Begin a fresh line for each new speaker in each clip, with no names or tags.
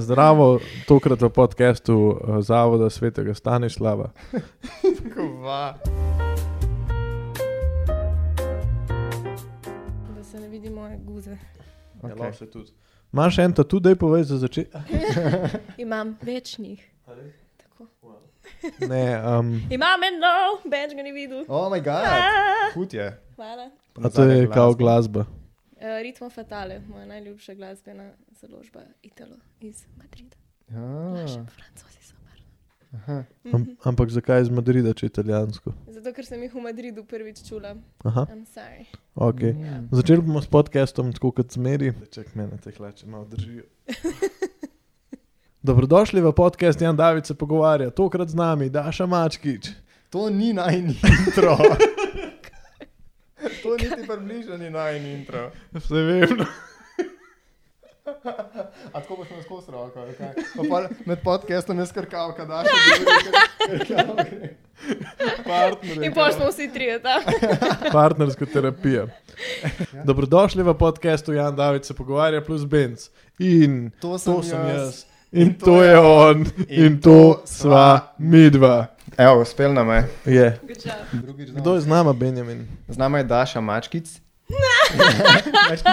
Zdravo, tokrat v podkastu eh, Zavoda svetega Stanislava.
Kva.
Da se ne vidi moje guze.
Okej.
Okay. Se tudi. Imaš en ta tudi, povej za začetek.
Imam več njih. Tako.
Ne, um,
Imam en nov, več ga ni videl.
O moj bog,
Ah,
Oh hud je.
Hvala.
a to je kao glasba.
Eh, Ritmo Fatale, moja najljubša glasbena založba Italo iz Madrida. Naši
Ah,
francozi so barvni.
aha.
Am, ampak zakaj iz Madrida, če je italijansko?
Zato, ker sem jih v Madridu prvič čula.
Aha,
I'm sorry.
ok.
Mm.
Začeli bomo s podkastom, tako kot zmeri. Ček, mene te hlače malo držijo. Dobrodošli v podkast Jan David se pogovarja, tokrat z nami Daša Mačkič.
To ni najni intro. to niti približno ni najni intro.
Vse vem.
A tako boš nas skozi roko, ali kaj? Pa pol med podcastom je skrkal, kaj daš. da skrkavka gre. Partnerje.
In pa smo vsi trije tam.
Partnerska terapija. Ja. Dobrodošli v podkastu Jan David se pogovarja plus Benz. In
To sem,
to sem jaz. In to je on. In to sva midva.
Evo, uspel nam je.
Je.
Good job.
Drugič
Kdo je z nama, Benjamin?
Z nama je Daša Mačkic.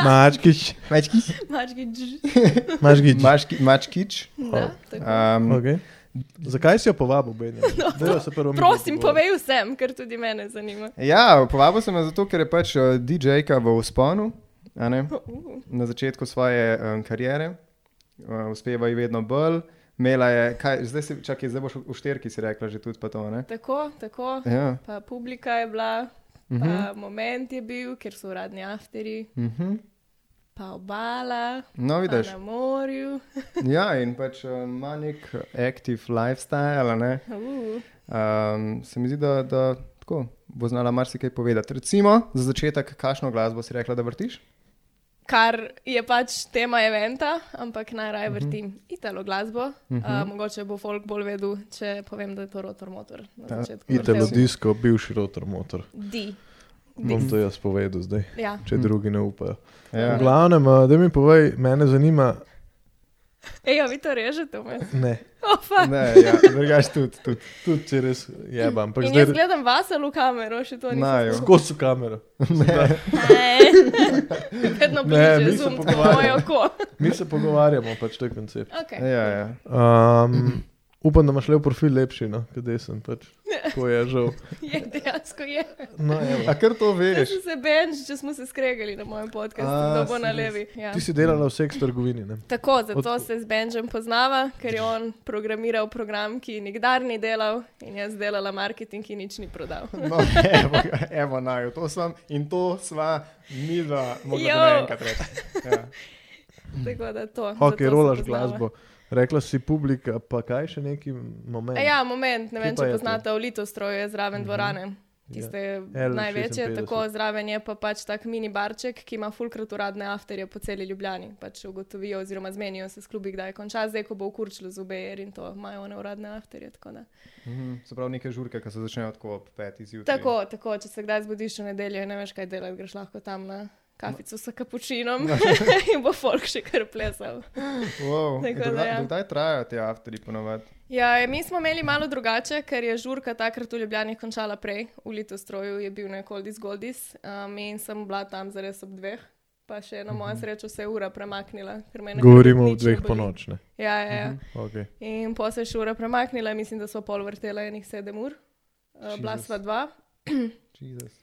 Mačkič.
Mačkic.
Mački dž.
Mačkič.
Mački, mačkič.
Da, tako.
Um,
Okay. Zakaj si jo povabil, Benjamin? Dajva se prvo mi
No, Prosim,
pogovori.
povej vsem, ker tudi mene zanima.
Ja, povabil sem jo zato, ker je pač eh, DJ-ka v usponu, a ne,
Uh,
na začetku svoje um, kariere, uh, uspeva ji vedno bolj. Mela je, kaj, zdaj si, čakaj, zdaj boš v šterki si rekla, že tudi pa to, ne?
Tako, tako.
Ja.
Pa publika je bila,
Mhm.
pa moment je bil, ker so uradni afteri.
Mhm.
pa obala,
No,
pa
vidiš.
na morju.
Ja, in pač eh, ima um, nek aktiv lifestyle, a ne.
Uh,
Um, se mi zdi, da, da tako, bo znala marsikaj povedati. Recimo, za začetek, kakšno glasbo si rekla, da vrtiš?
kar je pač tema eventa, ampak najraje vrtim uh -huh. italo glasbo. Uh
Mhm.
-huh. uh, mogoče bo folk bolj vedel, če povem, da je to rotor motor na
Ja,
začetku.
Italo
vrtel.
disko, bivši rotor motor.
Di.
Bom to jaz povedal zdaj,
Ja.
če drugi ne upajo. V
Ja.
glavnem, eh, da mi povej, mene zanima.
Ej, a vi to režete vmes?
Ne,
Opa.
Ne, ja, drugač tudi, tudi.
tudi če res jeba, ampak
In jaz
zdaj
gledam vas ali v kamero, še to nisem.
Naju.
skozi kamero.
Ne. Vedno
Ne, mi
bližje
se
zum, kot
pogovarjamo.
moje oko.
Mi se pogovarjamo, pač to je koncept.
Okay.
Ja, ja.
Um, upam, da imaš le v profil lepši, no, kot sem pač. Ko je žal.
Je, dejansko je.
No, evo.
A kar to
Jaz
veš?
sem se benč, če smo se skregali na mojem podkastu,
A,
da bo na
si res.
levi. Ja.
Ti si delala v seks trgovini, ne?
Tako, zato
Od-
Od... se z Benjem poznava, ker je on programiral program, ki nikdar ni delal, in jaz delala marketing, ki nič ni prodal.
No, evo, ga, evo naj, to sem in to sva mi dva, morda
Jo.
naenkrat reči. Ja.
Tako da to. zato
Ok,
se
Hmm. rolaš
poznava.
glasbo. Rekla si publika, pa kaj še neki moment.
A ja, moment, ne
Kje
vem,
pa je
če
to? Mhm. Ja.
poznate Olito stroje je zraven dvorane. Tiste
L56.
največje, tako zraven je pa pač tak mini barček, ki ima fulkrat uradne afterje po celi Ljubljani. Pač ugotovijo oziroma zmenijo se s klubi, kdaj konča, zdaj ko bo v Kurčlu z UBR in to imajo one uradne afterje. Tako, da.
Mhm, Se pravi, neke žurke, ki se začnejo tako ob petih zjutraj.
Tako, tako, če se kdaj zbudiš v nedeljo in ne veš, kaj delati, greš lahko tam na kafico s kapučinom
No.
in bo folk še kar plesal.
Wow.
Tako da
Tako da,
ja.
ja. Kdaj trajajo ti avtori ponovadi?
Ja, mi smo imeli malo drugače, ker je žurka takrat v Ljubljani končala prej, v Litostroju je bil nekoldis Goldis um, in sem bila tam zares ob dveh. Pa še na mojo srečo se je ura premaknila. ker me je nekako
Mhm. Govorimo o
nič ne
dveh Mhm.
boli.
ponočne.
Ja, ja, ja.
Okay.
In pa se je še ura premaknila, mislim, da so pol vrtela enih sedem ur, uh, bila
Jezus.
sva dva.
Jezus.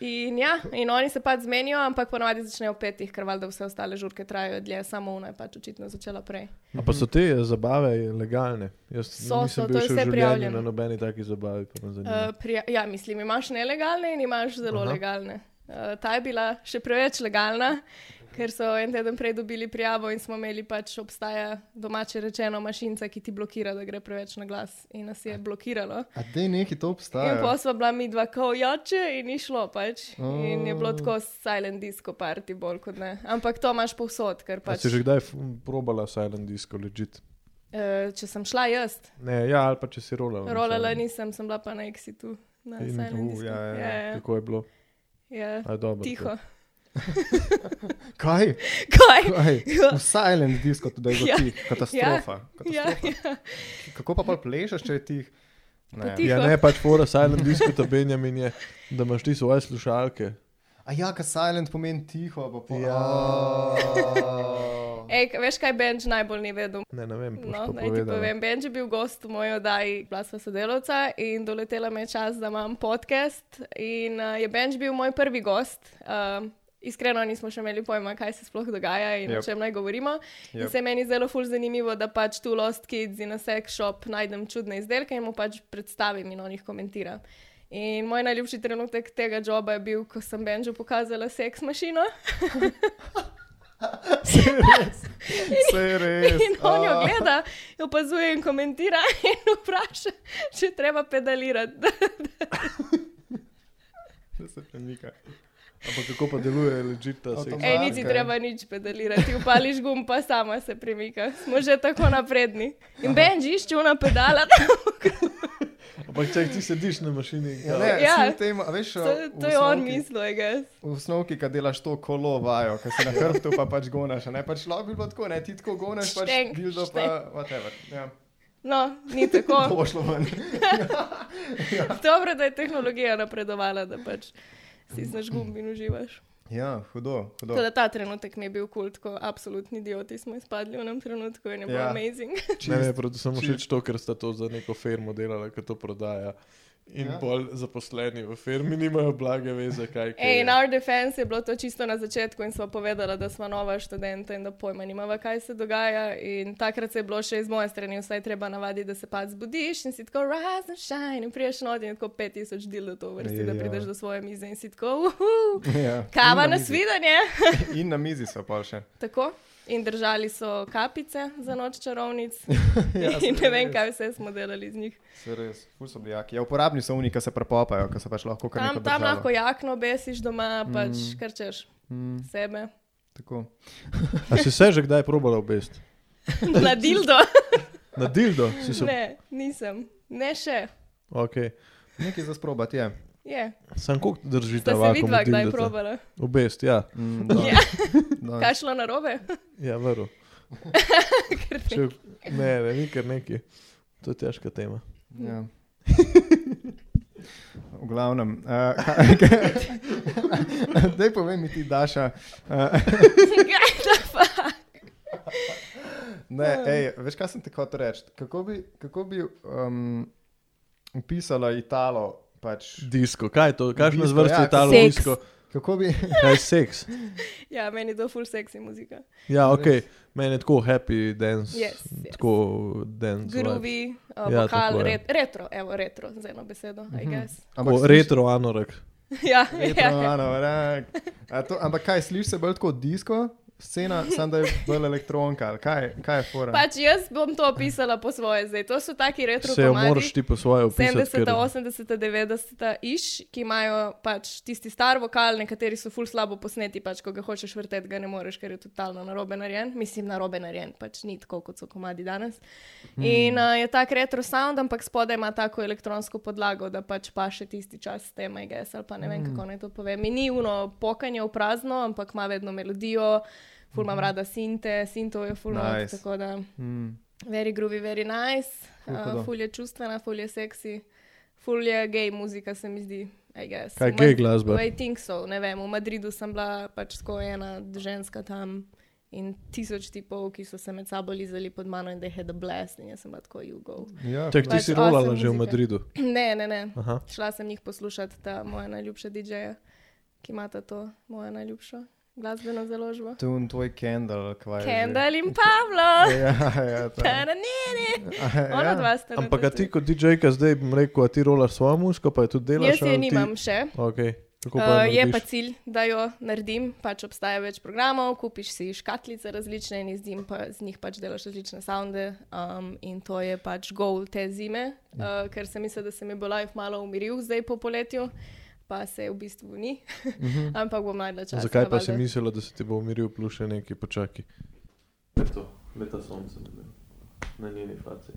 In ja, in oni se pač zmenijo, ampak ponovadi začnejo ob petih, ker valjda vse ostale žurke trajajo dlje, samo ona je pač očitno začela prej.
A pa so te zabave legalne? Jaz
So,
nisem
so,
bil
to
še v
je vse
življenju
prijavljeno.
na nobeni taki zabavi, ko me zanima.
Uh, prija, ja, mislim, imaš nelegalne in imaš zelo
Mhm. Aha.
Aha. legalne. Uh, ta je bila še preveč legalna, ker so en teden prej dobili prijavo in smo imeli pač obstaja domače rečeno mašinca, ki ti blokira, da gre preveč na glas in nas je blokiralo.
A te neki to
In
obstaja?
posla bila mi dva kao jače in ni šlo pač. In je
Oh.
bilo tako silent disco party bolj kot ne. Ampak to imaš povsod, ker
Pa
pač.
si že kdaj f- probala silent disco legit?
Eh, če sem šla jaz,
Ne, ja, ali pa če si rolala. na
rolala
silent.
nisem, sem bila pa na exitu, na
In-
Silent
uh,
Disco.
ja, ja, ja.
Ja, ja,
Kako je bilo?
ja.
A, je dobro,
Tiho.
Kaj?
Kaj?
Kaj?
Ja.
V silent disco to dolgo
Ja.
ti. Katastrofa.
Ja,
Katastrofa.
ja.
Kako pa pol plešeš, če je ti... Ne.
Poti-
Ja, ne, pač fora silent diskuta Benjamin je, da imaš ti svoje slušalke.
A ja, ka silent pomeni tiho, pa pol...
Ja.
Ej, k- veš kaj Benj najbolj ni vedel?
Ne, ne vem, boš pa
No, naj ti
povedala.
povem, Benj je bil gost v moji oddaji, bila sva sodelovca in doletela me je čas, da imam podcast. In uh, je Benj bil moj prvi gost. Uh, Iskreno nismo še imeli pojma, kaj se sploh dogaja in yep. o
Yep.
čem naj govorimo. Yep. In
Yep.
se je meni zelo ful zanimivo, da pač tu Lost Kids in na sex shop najdem čudne izdelke in mu pač predstavim in on jih komentira. In moj najljubši trenutek tega joba je bil, ko sem Benžu pokazala seks mašino.
Vse je res.
In on jo
A.
gleda, jo opazuje in komentira in vpraša, če je treba pedalirati.
Da se premika.
Ampak kako pa deluje legit ta seks?
Avtomat-
Ej, niti
Zakaj?
treba nič pedalirati, upališ gum, pa sama se premika. Smo že tako napredni. In Benji išče una pedala.
Ampak če ti sediš na mašini, in
Ja,
kao-
ne,
Ja.
ja. Tem, a veš,
To,
v
to je on
osnovki-
mislil, I guess.
V osnovi, ki delaš to kolo, vajo, ki se na hrbtu pa pač gonaš. a Ne? Pač lahko bi bilo tako, ne ti tako gonaš, pač
Štenk,
gildo pa whatever. Ja.
No, ni
To
tako.
bo šlo ven.
Dobro, da je tehnologija napredovala, da pač si znaš gum in uživaš.
Ja, hudo, hudo.
Tako da ta trenutek mi je bil kult, ko absolutni idioti smo izpadli v enem trenutku in je bilo
Ja.
amazing.
Ne, ne,
Čist.
predvsem
čist.
všeč to, ker sta to za neko firmo delala, ki to prodaja. In ja.
Ja.
bolj zaposleni v firmi nimajo blage veze, kaj kaj
Ej, no.
je.
Ja.
in our defense je bilo to čisto na začetku in smo povedali, da smo nova študenta in da pojma nimava, kaj se dogaja. In takrat se je bilo še iz moje strani, vsaj treba navaditi, da se pa zbudiš in si tako rise and shine in priješ not in tako 5000 del do to vrsti, da
Ja.
prideš do svoje mize in si tako uhu,
Ja.
kava
In
na
mizi.
svidanje.
In na mizi so pa še.
Tako. In držali so kapice za noč čarovnic.
Ja,
in ne
saj
vem,
res.
kaj vse smo delali z njih.
Se res, ful so bili jaki. Ja, uporabni so unika se prepopajo, ki se pač lahko kar
Tam,
neko
tam
državo.
lahko jakno besiš doma, pač mm. krčeš
Mm,
sebe.
tako.
A si se že kdaj probala obest?
na dildo.
Na dildo si se.
Ne, nisem, ne še.
Okay.
Nekaj za sprobati je.
Je.
Sam koliko drži ta
Da se
vakuum?
vidva, kdaj
dildata?
probala.
Obest, ja,
Mm,
Ja.
da, da.
Kaj šlo na robe?
ja veru. Če, ne, ne, ni kar neki. To je težka tema.
Ja. V glavnem, uh, kaj, daj povej mi ti, Daša. Uh,
Kaj da pa?
ne, ej, veš, kaj sem ti hotel reči? Kako bi, kako bi um, upisala Italo? Pač,
Disko, kaj je to? Kakšna
Disko,
zvrst je
ja.
ta
Seks.
disko?
kako bi.
Kaj je seks?
Ja, meni je to full sexy muzika.
Ja, ok, meni je tako happy dance.
Yes, yes.
Tako dance. vibe.
Groovy,
Ja,
uh, ja, vokal,
tako je. Mhm.
ret, retro, evo retro, z eno besedo, I guess.
Tako
sliš-
Retro anorak.
ja,
retro,
ja.
ano, rak. A to, ampak kaj slišiš se bolj kot disko? Scena, samo da je bolj elektronka. ali Kaj, kaj je fora?
Pač jaz bom to opisala po svoje zdaj. To so taki retro
Se jo moraš
komadi.
ti po svoje opisati.
70,
ker-
80, 90 iš, ki imajo pač tisti star vokal, nekateri so ful slabo posneti, pač ko ga hočeš vrteti, ga ne moreš, ker je totalno narobe narejen. Mislim, narobe narejen, pač ni tako, kot so komadi danes. In uh, je tak retro sound, ampak spodaj ima tako elektronsko podlago, da pač pa še tisti čas s tem, IGS, ali pa ne vem, kako naj to povem. In ni uno pokanje v prazno, ampak ima vedno melodijo, ful imam rada sinte, sinto je ful nice.
Nice.
tako da.
Mm,
Very groovy, very nice,
Ful hudo.
uh, ful je čustvena, ful je seksi, ful je gej muzika, se mi zdi. I guess.
Kaj
V
gej
Mad-
glasba?
I think so, ne vem. V Madridu sem bila pač tako ena ženska tam in tisoč tipov, ki so se med sabo lizali pod mano in they had a blast in jaz sem bila tako jugo.
ja,
Čak, ti
Pač
si rolala
awesome
že v
muzika.
Madridu.
Ne, ne, ne.
Aha.
Šla sem jih poslušati, ta moja najljubša DJ-ja, ki imata to moja najljubša glasbeno založbo.
Tu in tvoj Kendall, kva je. že?
Kendall in Pablo!
Ja, ja, to je.
Taranini!
Aha,
Ona
ja.
dva sta. na
Ampak a
tatu.
ti kot DJ-ka zdaj bom rekel, a ti rolaš svojo muziko, pa jo tudi delaš?
Jaz je
ali ti-
nimam še.
Okay. Kako pa
Uh,
jo
je
narediš?
pa cilj, da jo naredim, pač obstaja več programov, kupiš si škatlice različne in iz, njim pa, iz njih pač delaš različne sounde. Um, in to je pač goal te zime,
Ja.
uh, ker sem mislil, da se mi bo life malo umiril zdaj po poletju, pa se v bistvu ni, ampak bom najdla čas.
Mhm. Zakaj pa si
valjda.
mislila, da se ti bo umiril plus še neki počaki? Eto, leta sonce na njeni faci.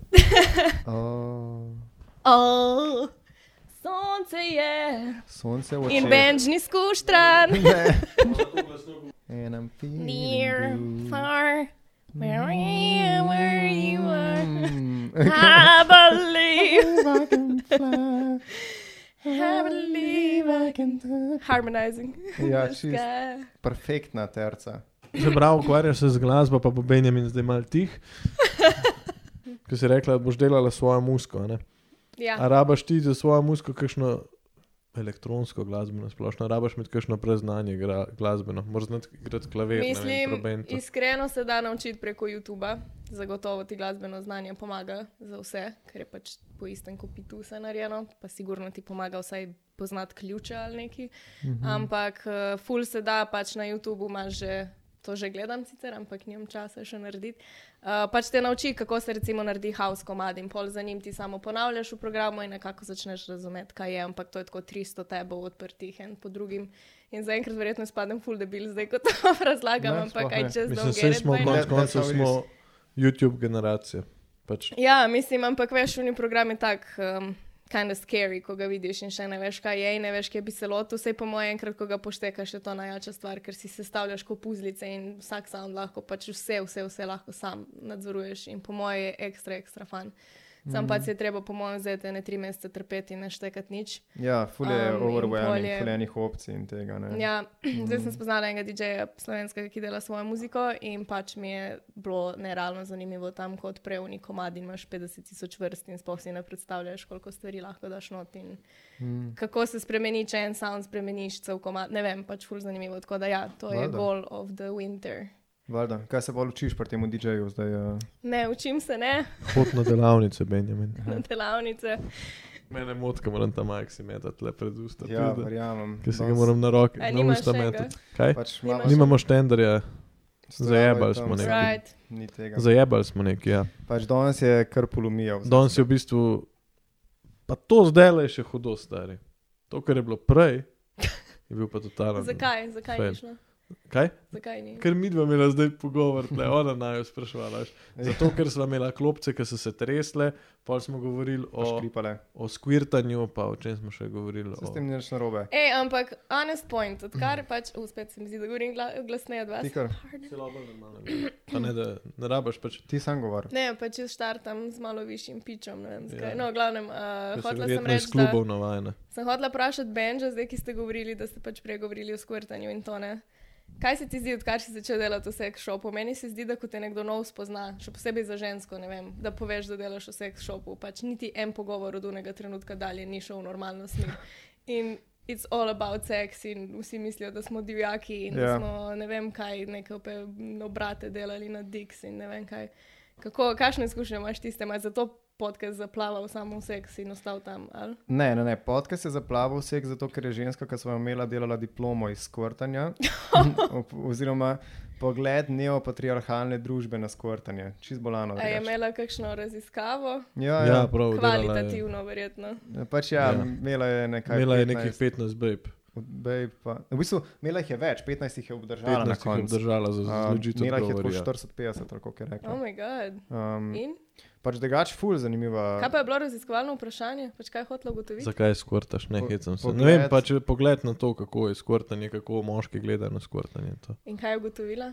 Oh,
Oh, sonce je
sonce v očeh.
in benžni skuštran.
Ne, And I'm feeling
Near,
blue.
far, wherever you are.
Mm.
I believe,
If I can fly,
I believe I
I can touch.
Harmonizing.
Ja,
the
čist.
sky.
Perfektna terca.
Čeprav ukvarjaš se z glasbo, pa bo Benjamin zdaj mal tih. Ko si rekla, da boš delala svojo muziko. a Ne? A
Ja,
rabaš ti za svojo muziko kakšno elektronsko glasbo, na splošno rabaš med kakšno preznanje gra, glasbeno, moraš znati igrati klavir,
mislim,
trobento.
iskreno se da naučiti preko YouTuba. Zagotovo ti glasbeno znanje pomaga za vse, ker je pač po istem kopitu vse narejeno, pa sigurno ti pomaga vsaj poznati ključe ali neki. Mhm. Ampak eh, ful se da, pač na YouTubu imaš že. To že gledam sicer, ampak nimam časa še narediti. Uh, pač te nauči, kako se recimo naredi house komad in pol za njim ti samo ponavljaš v programu in nekako začneš razumeti, kaj je, ampak to je tako 300 tebov odprtih en po drugim. In zaenkrat verjetno spadam full debil, zdaj ko to razlagam,
Ne,
ne, ampak
sploh
aj
ne.
čez
Mislim, vse smo
by
konec
now.
koncev
That's how it
smo YouTube generacija. Pač,
Ja, mislim, ampak veš, unni program je tak, um, kind of scary, ko ga vidiš in še ne veš, kaj je, in ne veš, kje bi se lotil. Vse po mojem, enkrat, ko ga poštekaš, je to najjača stvar, ker si sestavljaš kot puzlice in vsak sam lahko, pač vse, vse, vse lahko sam nadzoruješ. In po mojem je ekstra, ekstra fan. Sam mm. pa se je treba, po mojem, zdaj ne tri mesece trpeti in ne štekati nič.
Ja, fulje um,
Um, in
overwhelming,
polje.
fulje enih opcij in tega. Ne. Mm.
Ja, zdaj
Mm.
sem spoznala enega DJ-ja slovenskega, ki dela svojo muziko in pač mi je bilo nerealno zanimivo tam, ko odprejo neki komadi in imaš 50 tisoč vrst in sploh si ne predstavljaš, koliko stvari lahko daš not in mm. kako se spremeni, če en sound spremeniš cel komad. Ne vem, pač ful zanimivo. Tako da ja, to je
Valjda.
goal of the winter.
Valjda. Kaj se pa učiš pri tem DJ-ju zdaj? Uh,
Ne, učim se ne,
Pot na delavnice, Benjamin.
na delavnice.
Mene motka, moram ta maksi metati le pred usta.
ja,
pride,
verjamem.
Ker se ga
Danes
moram na roke,
A
na
E, nimaš
usta
enega?
metati. Kaj?
Pač
Nimaš-
imamo-
Nimamo štenderja,
stravo je
zajebali
tam,
smo
vse.
nekaj.
Right.
Ni tega.
Zajebali smo nekaj, ja.
Pač danes je kar polomijal.
Danes je v bistvu, pa to zdaj le še hudo stari. To, kar je bilo prej, je bil pa totalen.
Zakaj? Zakaj
Fail.
ni šlo?
Kaj?
Zakaj ni?
Ker mi dva imela zdaj pogovor, le ona naj jo sprašvala. veš.
Ja.
Zato, ker sva imela klopce, ki so se tresle, pa smo govorili o,
Škripale.
o skvirtanju, pa o čem smo še govorili. O...
S tem ni nič narobe.
Ej, ampak honest point, odkar pač, uh, spet se mi zdi, da govorim gla- glasneje od vas.
Tikar.
Celo bolj normalno. Pa ne, da ne rabaš pač.
Ti sam govor.
Ne, pa če štartam z malo višjim pičom, ne vem zakaj.
Ja.
Ja. No, v glavnem,
ker
uh,
si
hotela sem
verjetno
reči,
Iz
da
klubov navajena.
sem hotela vprašati Benja, zdaj ki ste govorili, da ste pač pregovorili o skvrtanju in to ne. Kaj se ti zdi, odkar si začel delati vse šopo? Meni se zdi, da ko te nekdo nov spozna, še posebej za žensko, ne vem, da poveš, da delaš vse šopo, pač niti en pogovor od unega trenutka dalje ni šel v normalno smer. In it's all about sex in vsi mislijo, da smo divjaki in
Ja.
yeah. da smo ne vem kaj, neke ope- mm, obrate delali na Dix in ne vem kaj. Kako, kakšne izkušnje imaš tiste, imaš zato podcast zaplaval samo v seks in ostal tam? Ali?
Ne, ne, ne. Podcast je zaplaval vseh, zato ker je ženska, ki smo jo imela, delala diplomo iz skvrtanja. Op- oziroma pogled neopatriarhalne družbe na skvrtanje. Čist bolano. da
A je
rečem.
imela kakšno raziskavo?
Ja, ja.
Ja, prav. delala je.
Kvalitativno, verjetno.
Pač ja,
Ja.
ja, imela je nekaj.
Imela je
15,
nekih 15 babe,
Babe, pa, v bistvu, imela jih je več, 15 jih je obdržala na
15 jih je
koncu.
obdržala za zložitev.
Imela jih je tako
odgovora, ja.
40-50, ali kako je rekla.
Oh moj bog.
Um,
Mm.
In?
pač drugač, ful, zanimiva.
Kaj pa je bilo raziskovalno vprašanje? Pač kaj je hotela ugotoviti?
Zakaj skortaš, ne
Po-
hecam se. Ne
pogled-
vem pa, če pogled na to, kako je skortanje, kako moški gledajo na skortanje. in to.
In kaj je ugotovila?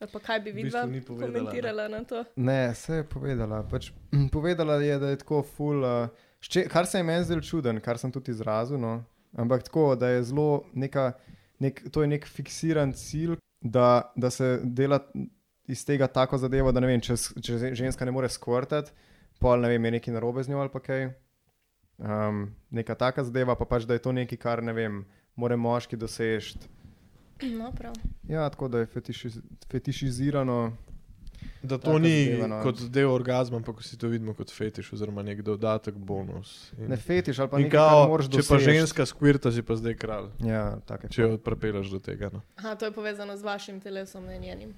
Ali Pa kaj bi
V bistvu
videla,
ni povedala,
komentirala na to?
Ne, se je povedala. Pač, povedala je, da je tako ful. Uh, šče, kar se je meni zdelo čuden, kar sem tudi izrazil. No. Ampak tako, da je zelo neka, nek, to je nek fiksiran cilj, da, da se dela iz tega tako zadevo, da ne vem, če, s- če ze- ženska ne more skvrtati, pol ne vem, je nekaj narobe z njo ali pa kaj. Um, neka taka zadeva, pa pač, da je to nekaj, kar ne vem, more moški dosežeti.
No, prav.
Ja, tako da je fetišiz, fetišizirano.
Da to
Taka
ni
zadeva, no.
kot del orgazma, ampak vsi to vidimo kot fetiš, oziroma nek dodatek, bonus. In,
Ne fetiš ali pa
in
nekaj, kar
kao,
moraš
če
doseči.
pa ženska skvirta, si pa zdaj kralj,
Ja, tako je.
če jo odpeleš do tega. No.
Aha, to je povezano z vašim telesom, ne njenim.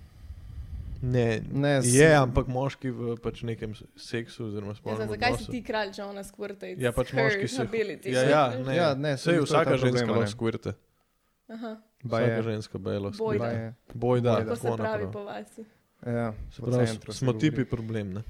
Ne,
Ne, s-
je, ampak moški v pač nekem seksu, oziroma
Ja,
spolnem
zdaj, zakaj si ti kralj, če ona skvrta? It's
Ja, pač
her
moški se.
ability.
Ja, ja, ne,
Ja,
ja,
ne,
ne,
saj
sej,
to je ta
vsaka
problem,
ženska
a ne.
lahko skvirte.
Aha,
Ba
Vsaka
je.
ženska bi lahko
Bojda.
skvirta.
Ba je.
Boj da,
Bojda.
tako
tako
se pravi
naprej.
po vasi.
Ja,
Se
po
pravi,
centru se
smo
govori.
tipi problem. Ne?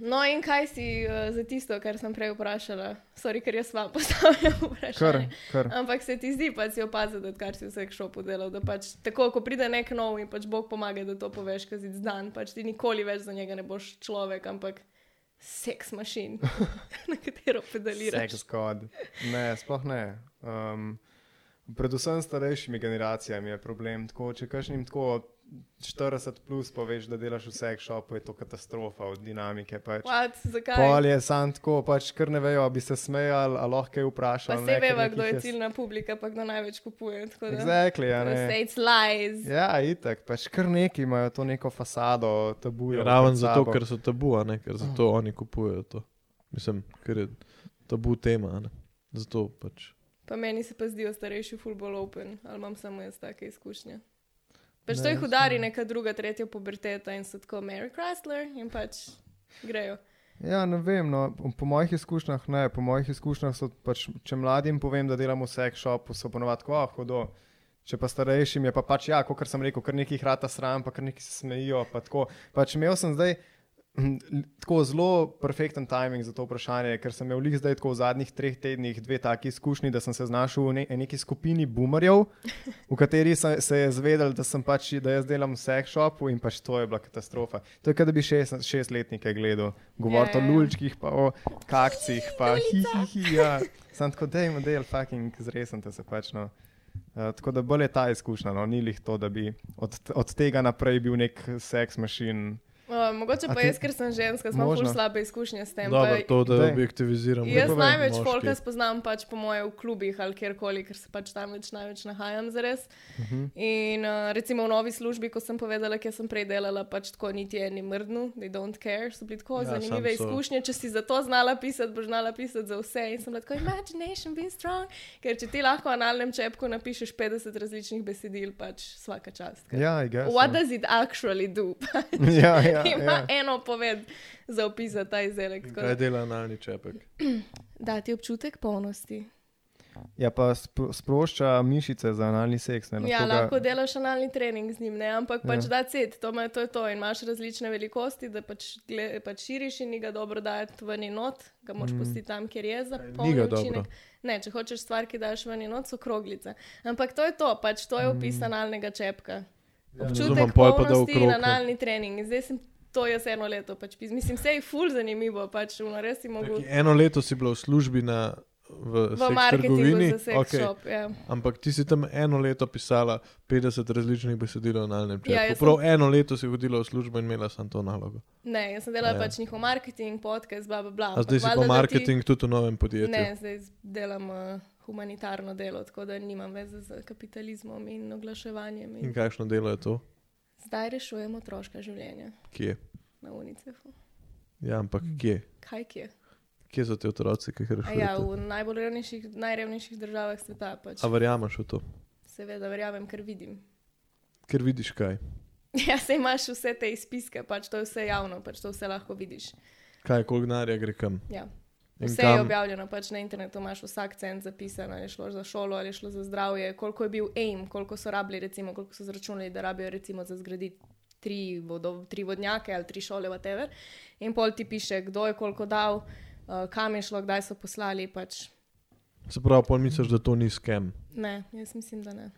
No, in kaj si uh, za tisto, kar sem prej vprašala? Sorry, ker jaz vam postavljam vprašanje.
Kar, kar.
Ampak se ti zdi, pa si opazil, da kar si vseh šopov delal, da pač tako, ko pride nek nov in pač Bog pomaga, da to poveš, kaj si zdan, pač ti nikoli več za njega ne boš človek, ampak seks mašin, na katero pedaliraš.
Sex god. Ne, sploh ne. Um, predvsem s starejšimi generacijami je problem. Tako, če kažem tako 40 plus, pa veš, da delaš v sex shopu, je to katastrofa od dinamike. Pač.
What, zakaj?
Pol je sam tako, pač kar ne vejo, a bi se smejali, a lahko je
pa
vprašal.
se veva, kdo je ciljna publika, pa kdo največ kupuje. tako da-
Exactly, ja, ne.
Vse it's lies.
Ja, itak, pač kar neki imajo to neko fasado, tabujo.
Raven
pred
zato,
sabo.
ker so tabu, a ne, ker zato oni kupujejo to. Mislim, ker je tabu tema, a ne. Zato pač.
Pa meni se pa zdijo starejši futbol open, ali imam samo jaz take izkušnje. Pač
Ne,
to jih
jaz
udari
ne.
neka druga, tretja puberteta in so tako Mary Chrysler in pač grejo.
Ja, ne vem, no, po mojih izkušnjah ne, po mojih izkušnjah so pač, če mladim povem, da delam v sex shopu, so ponovadi tako, ah, hodo. Če pa starejšim je pa pač, ja, kot sem rekel, kar nekih rata sram, pa kar neki se smejijo. Pa tako. pač imel sem zdaj mm, tako zelo perfekten timing za to vprašanje, ker sem imel lih zdaj tako v zadnjih treh tednih dve taki izkušnji, da sem se znašel v ne, neki skupini boomerjev, v kateri se, se je zvedel, da sem pač, da jaz delam v sex shopu in pač to je bila katastrofa. To je, kot da bi šest, šestletnike gledal, govoriti o
Ja, ja, ja.
lulčkih, pa o kakcih, pa hihihi, ja. Sam tako, da jim del, fucking zresnite se pač. No. Uh, tako da bolj je ta izkušnja, no, ni lih to, da bi od, od tega naprej bil nek seks mašin.
Uh, mogoče
A
pa
ti-
jaz, ker sem ženska, imam
Možno.
ful slabe izkušnje s tem.
Dobro,
pa,
to, da
Daj.
objektiviziramo.
jaz
moški.
največ folka spoznam pač po moje v klubih ali kjerkoli, ker se pač tam več največ nahajam zares.
Uh
Mhm.
-huh.
In uh, recimo v novi službi, ko sem povedala, kje sem prej delala, pač tako niti je ni mrdnu, they don't care, so bili
Ja,
tako ja,
samo
zanimive
so.
izkušnje. Če si za to znala pisati, boš znala pisati za vse. In sem bila tako, imagination be strong, ker če ti lahko v analnem čepku napišeš 50 različnih besedil, pač vsaka čast. ker
Ja, I guess,
What
ja.
does it actually do?
ja, ja,
Ima
ja.
eno poved za opis za ta izdelek. tako
Kaj
Da,
dela analni čepek?
da ti občutek polnosti.
ja, pa spro, sprošča mišice za analni seks. Ne,
Ja,
ga-
lahko delaš analni trening z njim, ne? ampak pač
Ja.
ja. da ced, to, me, to je to. In imaš različne velikosti, da pač, gle, pač širiš in ni ga dobro dajati ven in not, ga moraš mm. pustiti tam, kjer je za
ni
polni
ga
učinek.
dobro?
Ne, če hočeš stvar, ki daš ven in not, so kroglice. Ampak to je to, pač to je opis mm. analnega čepka. Ja,
razumem,
Občutek
pol pa ja. da
polnosti
okrog,
in
ne.
analni trening. In zdaj sem to jaz eno leto, pač, pis- mislim, se je ful zanimivo, pač no, res si mogel.
Taki, eno leto si bila v službi na, v,
V
seks trgovini,
marketingu za sex okay.
okej.
shop. Ja.
ampak ti si tam eno leto pisala 50 različnih besedil o analnem čepku.
Ja,
Ja,
jaz
Prav sem... eno leto si hodila v službo in imela sem to nalogo.
Ne, jaz sem delala
Ja.
ja. pač njihov marketing, podcast, bla bla bla.
A zdaj
ampak
si
valjda,
pa
da ti-
marketing tudi v novem podjetju.
Ne, zdaj z- delam uh, humanitarno delo, tako da nimam veze z kapitalizmom in oglaševanjem. In
In kakšno delo je to?
zdaj rešujemo otroška življenja
Kje?
na UNICEF-u.
Ja, ampak kje?
Kaj je? Kje
Kje so ti otroci, ki jih
Mm. Ja,
rešuješ?
v najbolj revnejših, najrevnejših državah sveta. Pač.
A verjameš v to?
Seveda, verjamem, ker vidim.
Ker vidiš kaj.
Ja, se imaš vse te izpiske, pač to je vse javno, pač to vse lahko vidiš.
Kaj, koliko denarja gre kam?
Ja.
In
Vse je
kam-
objavljeno, pač na internetu imaš vsak cent zapisan, ali je šlo za šolo, ali je šlo za zdravje, koliko je bil aim, koliko so rabili, recimo, koliko so zračunali, da rabijo recimo za zgraditi tri, vodo, tri vodnjake ali tri šole, whatever. In pol ti piše, kdo je koliko dal, uh, kam je šlo, kdaj so poslali. Pač.
Se pravi, pol misliš, da to ni skem.
Ne, jaz mislim, da ne.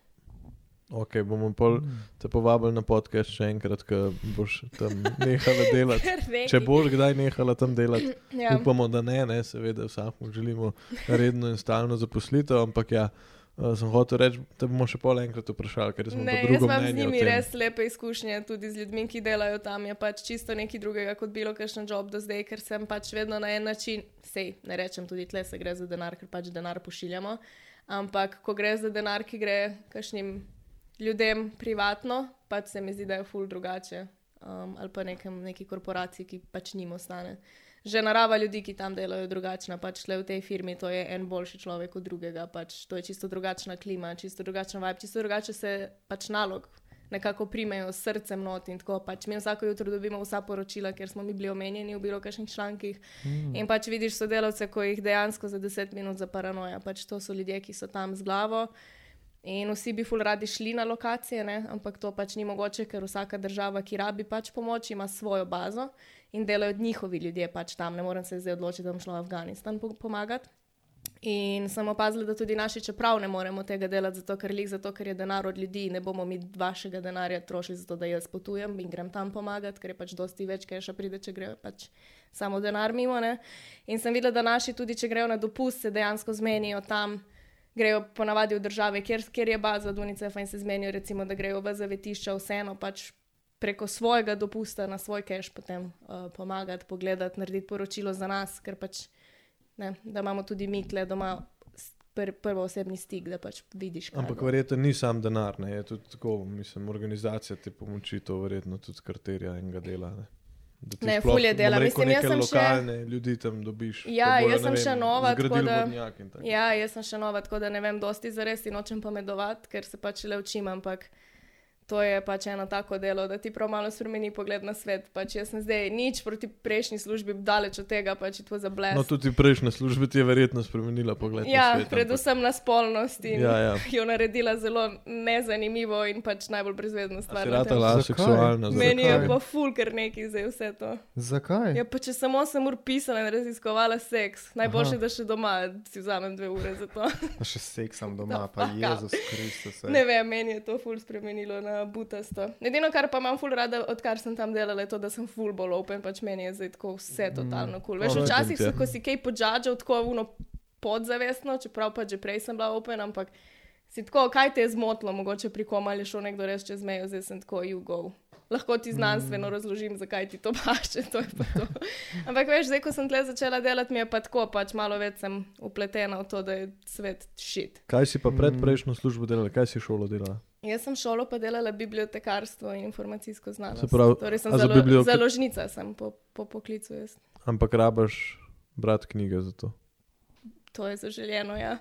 Ok, bomo pol te povabili na podcast še enkrat, ko boš tam nehala delati.
Ker neki-
Če boš kdaj nehala tam delati, ja.
ja.
upamo, da ne, ne, seveda, vsakmu želimo redno in stalno zaposlitev, ampak ja, eh, sem hotel reči, da bomo še pol enkrat vprašali, ker smo
Ne,
pa
jaz
drugo
imam z
mnenje. o
njimi
tem.
res lepe izkušnje, tudi z ljudmi, ki delajo tam. Je pač čisto nekaj drugega kot bilo kakšen job do zdaj, ker sem pač vedno na en način, sej ne rečem, tudi tle se gre za denar, ker pač denar pošiljamo. Ampak ko gre za denar, ki gre kakšnim ljudem privatno, pač se mi zdi, da je ful drugače. Um, ali pa nekem, neki korporaciji, ki pač njim ostane. Že narava ljudi, ki tam delajo, je drugačna. Pač le v tej firmi to je en boljši človek od drugega, pač to je čisto drugačna klima, čisto drugačen vibe, čisto drugače se pač nalog nekako primejo s srcem not in tako. Pač mi vsako jutro dobimo vsa poročila, ker smo mi bili omenjeni v bilo kakšnih člankih. Mm. In pač vidiš sodelavce, ko jih dejansko za 10 minut zaparanoja. Pač to so ljudje, ki so tam z glavo. In vsi bi ful radi šli na lokacije, ne? ampak to pač ni mogoče, ker vsaka država, ki rabi pač pomoč, ima svojo bazo in delajo njihovi ljudje pač tam. Ne morem se zdaj odločiti, da bom šla v Afganistan po pomagati. In sem opazila, da tudi naši, čeprav ne moremo tega delati, zato ker, lih, zato ker je denar od ljudi, ne bomo mi vašega denarja trošili za to, da jaz potujem in grem tam pomagati, ker je pač dosti več, ker še pride, če gre pač samo denar mimo. Ne? In sem videla, da naši tudi, če grejo na dopust, se dejansko zmenijo tam. Grejo ponavadi v države, kjer, kjer je baza od UNICEF-a in se zmenijo, recimo, da grejo v zavetišča, vseeno pač preko svojega dopusta na svoj cache potem uh, pomagati, pogledati, narediti poročilo za nas, ker pač ne, da imamo tudi mi tle doma s- pr prvo osebni stik, da pač vidiš. kaj
Ampak
bo.
verjetno ni sam denar, ne? je tudi tako, mislim, organizacija te pomoči to verjetno tudi karterja enega dela. Ne? Da ti
Ne,
sploh,
ful je
bom
dela.
rekel,
Mislim, jaz
neke
sem še-
lokalne ljudi tam dobiš.
Ja,
ko bojo,
jaz
ne
sem še
vem,
nova, tako
zgradili
da-
vodnjak in tako.
Ja, jaz sem še nova, tako da ne vem dosti za res in nočem pomedovati, ker se pač le učim, ampak to je pač eno tako delo, da ti prav malo spremeni pogled na svet. Pač jaz sem zdaj nič proti prejšnji službi, daleč od tega, pač je to za bles.
No, tudi prejšnja služba ti je verjetno spremenila pogled. na
Ja,
svet, ampak-
predvsem na spolnost in
Ja, ja.
jo naredila zelo nezanimivo in pač najbolj brezvezno
A
stvar.
Si
na tem.
ratala
Zakaj?
aseksualna.
Zakaj?
zaradi
Meni je
tega?
pa ful, ker neki zdaj vse to.
Zakaj?
Ja, pa če samo sem ur pisala in raziskovala seks, najboljše, da še doma si vzamem dve ure za to.
Pa še seksam doma,
Da,
pa
fuck up.
Jezus Kristus. ej.
ne vem, meni je to ful spremenilo na butasto. Edino, kar pa imam ful rada, odkar sem tam delala, je to, da sem ful bolj open, pač meni je zdaj tako vse totalno kul. Cool. Veš,
Alright.
včasih so,
Ja.
ko si kaj podžadžal, tako uno podzavestno, čeprav pa že prej sem bila open, ampak si tako, kaj te je zmotilo, mogoče pri kom ali šel nekdo reči čez mejo, zdaj sem tako jugov. Lahko ti znanstveno razložim, zakaj ti to paše, to je pa to. Ampak veš, zdaj, ko sem tle začela delati, mi je pa tako, pač malo več sem upletena v to, da je svet šit.
Kaj si pa
Mm.
pred prejšnjo službo delala, kaj si šolo delala?
Jaz sem šolo pa delala bibliotekarstvo in informacijsko
Se
znanost.
pravi,
torej sem
a za
zalo,
biblioteke-
založnica sem po, po poklicu. Jaz.
Ampak rabaš brati knjige za to.
To je zaželjeno, ja.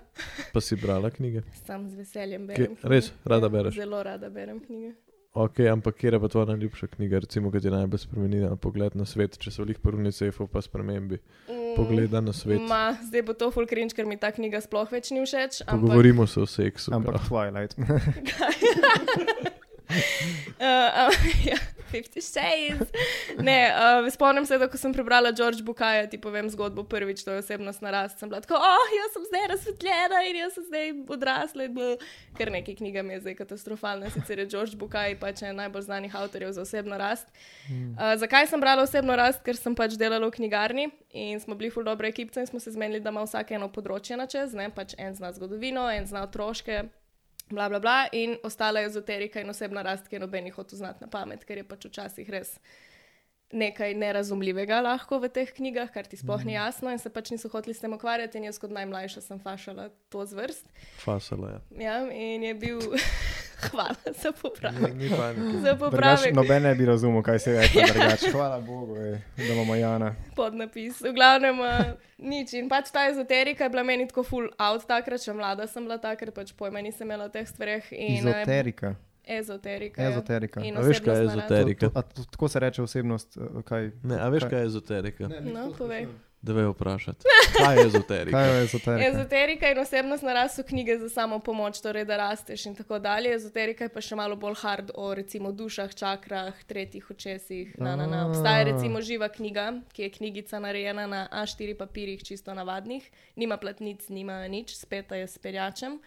Pa si brala knjige.
Sam z veseljem berem. knjige.
res? Rada
Ja,
bereš?
Zelo rada berem knjige.
Ok, ampak kje je pa tvoja najljubša knjiga, recimo, ki ti je najbolj spremenila pogled na svet, če so lih pri UNICEF-u pa spremembi
Mm,
pogleda na svet.
Ma, zdaj bo to full cringe, ker mi ta knjiga sploh več ni všeč. Ampak,
Pogovorimo se o seksu.
Ampak
kao.
Twilight.
Uh, uh, ja, 50 shades. Ne, uh, spomnim se, da ko sem prebrala George Bukaja, ti povem zgodbo prvič, to je osebnost narast. Sem bila tako, oh, jaz sem zdaj razsvetljena in jaz sem zdaj odrasla. in bla." Ker nekaj knjiga mi je zdaj katastrofalna, sicer je George Bukaj pač en najbolj znanih avtorjev za osebno rast. Uh, zakaj sem brala osebno rast? Ker sem pač delala v knjigarni in smo bili ful dobre ekipe in smo se zmenili, da ima vsak eno področje na čez, ne pač en zna zgodovino, en zna otroške, bla, bla, bla, in ostala je ezoterika in osebna rast, ki je nobenih hotel znati na pamet, ker je pač včasih res nekaj nerazumljivega lahko v teh knjigah, kar ti sploh
Mhm.
ni jasno in se pač niso hoteli s tem ukvarjati in jaz kot najmlajša sem fašala to zvrst.
Fasala je.
Ja, in je bil, hvala za popravek.
Ni panike.
Za
Drugač,
popravek.
noben ne bi razumel, kaj se
Ja.
reče. drugače. Hvala Bogu, ej, da imamo Jana.
podnapis. V glavnem uh, nič. In pač ta ezoterika je bila meni tako full out takrat, še mlada sem bila takrat, pač pojma nisem imela o teh stvareh. In, eh,
Izoterika.
Ezoterika. ja.
Ezoterika.
In
A veš, kaj je
osebnostna rast.
ezoterika?
To- to- a to- Tako se reče osebnost, eh, kaj,
Ne, a veš, kaj je ezoterika?
No, povej.
Da vejo vprašati. Kaj je ezoterika?
kaj je ezoterika.
Ezoterika in osebnost narast so knjige za samo pomoč, torej da rasteš in tako dalje. Ezoterika je pa še malo bolj hard o recimo dušah, čakrah, tretjih očesih. Na, na, na. Obstaja recimo živa knjiga, ki je knjigica narejena na A4 papirjih, čisto navadnih, nima platnic, nima nič, speta je s perjačem.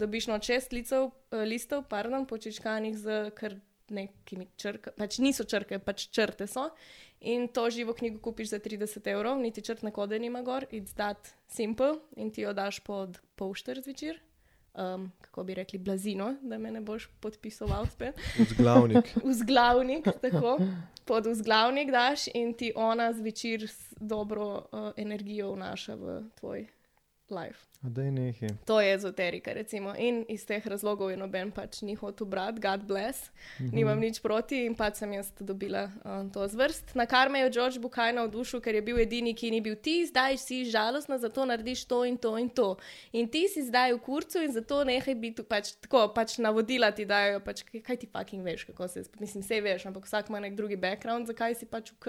Dobiš no šest licov, eh, listov, pardon, počičkanih z kar nekimi črkami, pač niso črke, pač črte so. In to živo knjigo kupiš za 30 evrov, niti črtne kode nima gor, it's that simple in ti jo daš pod pol štir zvečer. Um, kako bi rekli, blazino, da me ne boš podpisoval spet.
Zglavnik.
Vzglavnik, tako pod vzglavnik daš in ti ona zvečer s dobro uh, energijo vnaša v tvoj life.
A Daj nehi.
To je ezoterika, recimo. In iz teh razlogov je noben pač ni hotel brati, God bless, mm -hmm. nimam nič proti in pač sem jaz dobila um, to zvrst. Na kar me je George Bukaj navdušil, ker je bil edini, ki ni bil ti, zdaj si žalostna, zato narediš to in to in to. In ti si zdaj v kurcu in zato nehaj biti pač tako, pač navodila ti dajo, pač kaj- kaj ti fucking veš, kako se, mislim, vse veš, ampak vsak ima nek drugi background, zakaj si pač v K.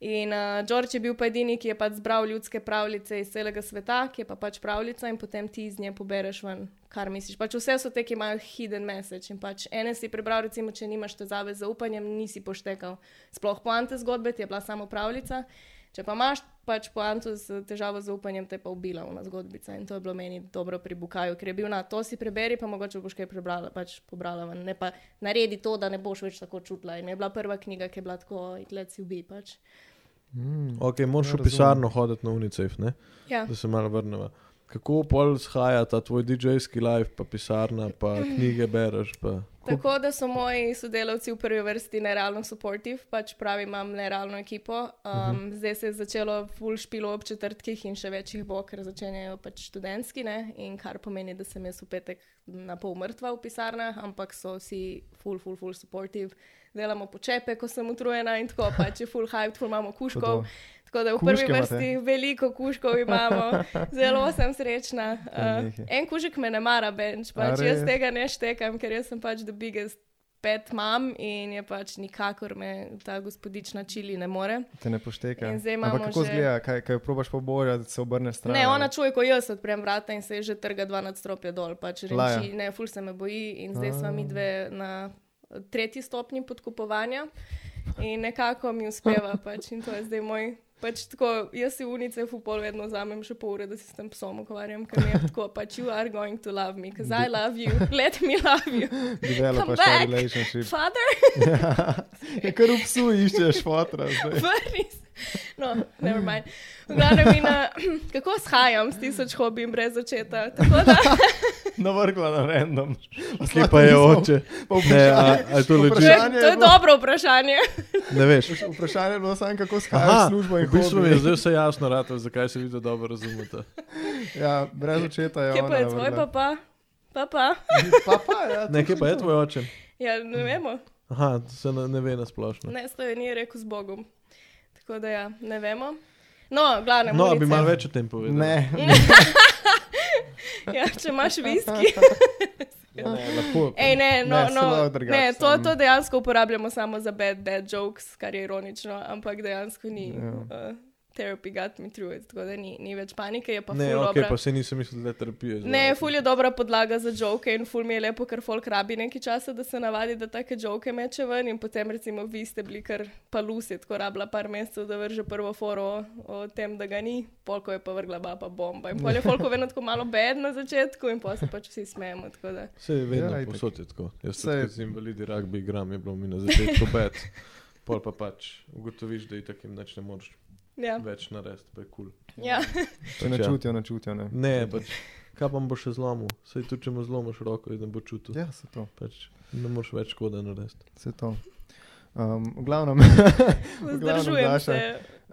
In uh, George je bil pa edini, ki je pač zbral ljudske pravljice iz celega sveta, ki je pa pač pravljica in potem ti iz nje pobereš ven, kar misliš. Pač vse so te, ki imajo hidden message in pač ene si prebral, recimo, če nimaš težave z zaupanjem, nisi poštekal. Sploh poante zgodbe ti je bila samo pravljica, če pa imaš pač poanto z težavo z zaupanjem, te je pa ubila ona zgodbica in to je bilo meni dobro pri Bukaju, ker je bil na to si preberi, pa mogoče boš kaj prebrala, pač pobrala ven, ne pa naredi to, da ne boš več tako čutila. In je bila prva knjiga, ki je bila tako, let si ubi pač.
Ok, moraš
Ja,
v
razumem.
pisarno hoditi na UNICEF, ne?
Ja.
da se malo vrnemo. Kako pol shaja ta tvoj DJ-ski live, pa pisarna, pa knjige bereš? Pa...
Tako da so moji sodelavci v prvi vrsti nerealno supportive, pač pravi, imam nerealno ekipo. Um, uh -huh. Zdaj se je začelo full špilo ob četrtkih in še več jih bo, ker začenjajo pač študentski, ne? in kar pomeni, da sem jaz v petek na pol mrtva v pisarnah, ampak so vsi full, full, full supportive. Delamo počepe, ko sem utrujena in tako, pač je full hype, full imamo kuškov.
Hudo.
Tako da v prvi
Kužke imate?
vrsti veliko kuškov imamo, zelo sem srečna.
Kaj
Uh,
nekaj.
en kužek me ne mara, benč,
A
pač jaz
res?
tega ne štekam, ker jaz sem pač the biggest pet mam in je pač nikakor me ta gospodična čili ne more.
Te ne pošteka.
In zdaj
Ampak
imamo
kako
že-
zgleda, kaj, kaj probaš poborjati, se obrneš stran?
Ne, ona čuje, ko jaz odprem vrata in se že trga dva nadstropja dol, pač
Laja.
reči, ne, ful se me boji in zdaj smo mi dve na tretji stopnji podkupovanja in nekako mi uspeva pač in to je zdaj moj. Pač tako, jaz si v UNICEF v pol vedno vzamem še pol ure, da se s tem psom ukvarjam, ker mi je tako, pač you are going to love me, because I love you, let me love you.
Developaš
Come
ta
back.
relationship.
Father,
Ja, kar upsu iščeš fotra. zdaj.
vrni se. No, never mind. V glavnem, in, uh, kako shajam s tisoč hobijem brez očeta. Tako da
Navrgla na random.
Kje pa je oče? Ne, a, a je to
To
leži?
je,
Vprašanje
to
je
je
bilo-
dobro vprašanje.
Ne veš.
Vprašanje je bilo samo, kako skajaš
Aha,
službo in
v bistvu mi
hobi.
je zdaj vse jasno, rato, zakaj se vidi dobro razumete.
Ja, brez očeta je.
Kje
ona
pa je tvoj
navrgla.
papa? Papa?
Pa pa, ja. to
Ne, kje pa je
to.
tvoj oče?
Ja, ne vemo.
Aha, se ne, ne ve nasplošno.
Ne, Slovenija je rekel z Bogom. Tako da ja, ne vemo. No, glavno.
No, a bi malo več o tem povedal.
Ne,
Ja, če imaš viski.
Ja, ne, lahko.
Ej, ne, no,
Ne,
ne,
se malo
no,
drugače,
ne to,
samo.
to dejansko uporabljamo samo za bad, bad jokes, kar je ironično, ampak dejansko ni.
Ja.
Uh, therapy got me through it, tako da ni, ni več panike, je pa
ne
ful
ok,
dobra.
pa se nisem mislil, da je terapija.
Ne, ful je dobra podlaga za žoke in ful mi je lepo, ker folk rabi nekaj časa, da se navadi, da take žoke meče ven in potem recimo vi ste bili kar palus, je tako rabila par mesecev, da vrže prvo foro o, o tem, da ga ni, polko je pa vrgla baba bomba. In pol je folko vedno tako malo bed na začetku in potem se pač vsi smejemo. tako da.
Se je vedno ja,
Ja, itak.
posod je tako. Jaz se
Saj-
z invalidi rugby igram, je bilo mi na začetku bed. Pol pa pač ugotoviš, da je takim nič ne moreš
Ja,
več narediti, pa je kul. Cool.
ja.
Če ne čutijo, ne čutijo. Ne.
Ne, pač, kaj pa mi bo še zlomil? Sej tu, če mu zlomiš roko, ne bo čutil.
Ja, se to.
Pač, ne moreš več škode narediti.
Se to. Um, v glavnem,
vzdržujem
Daša,
se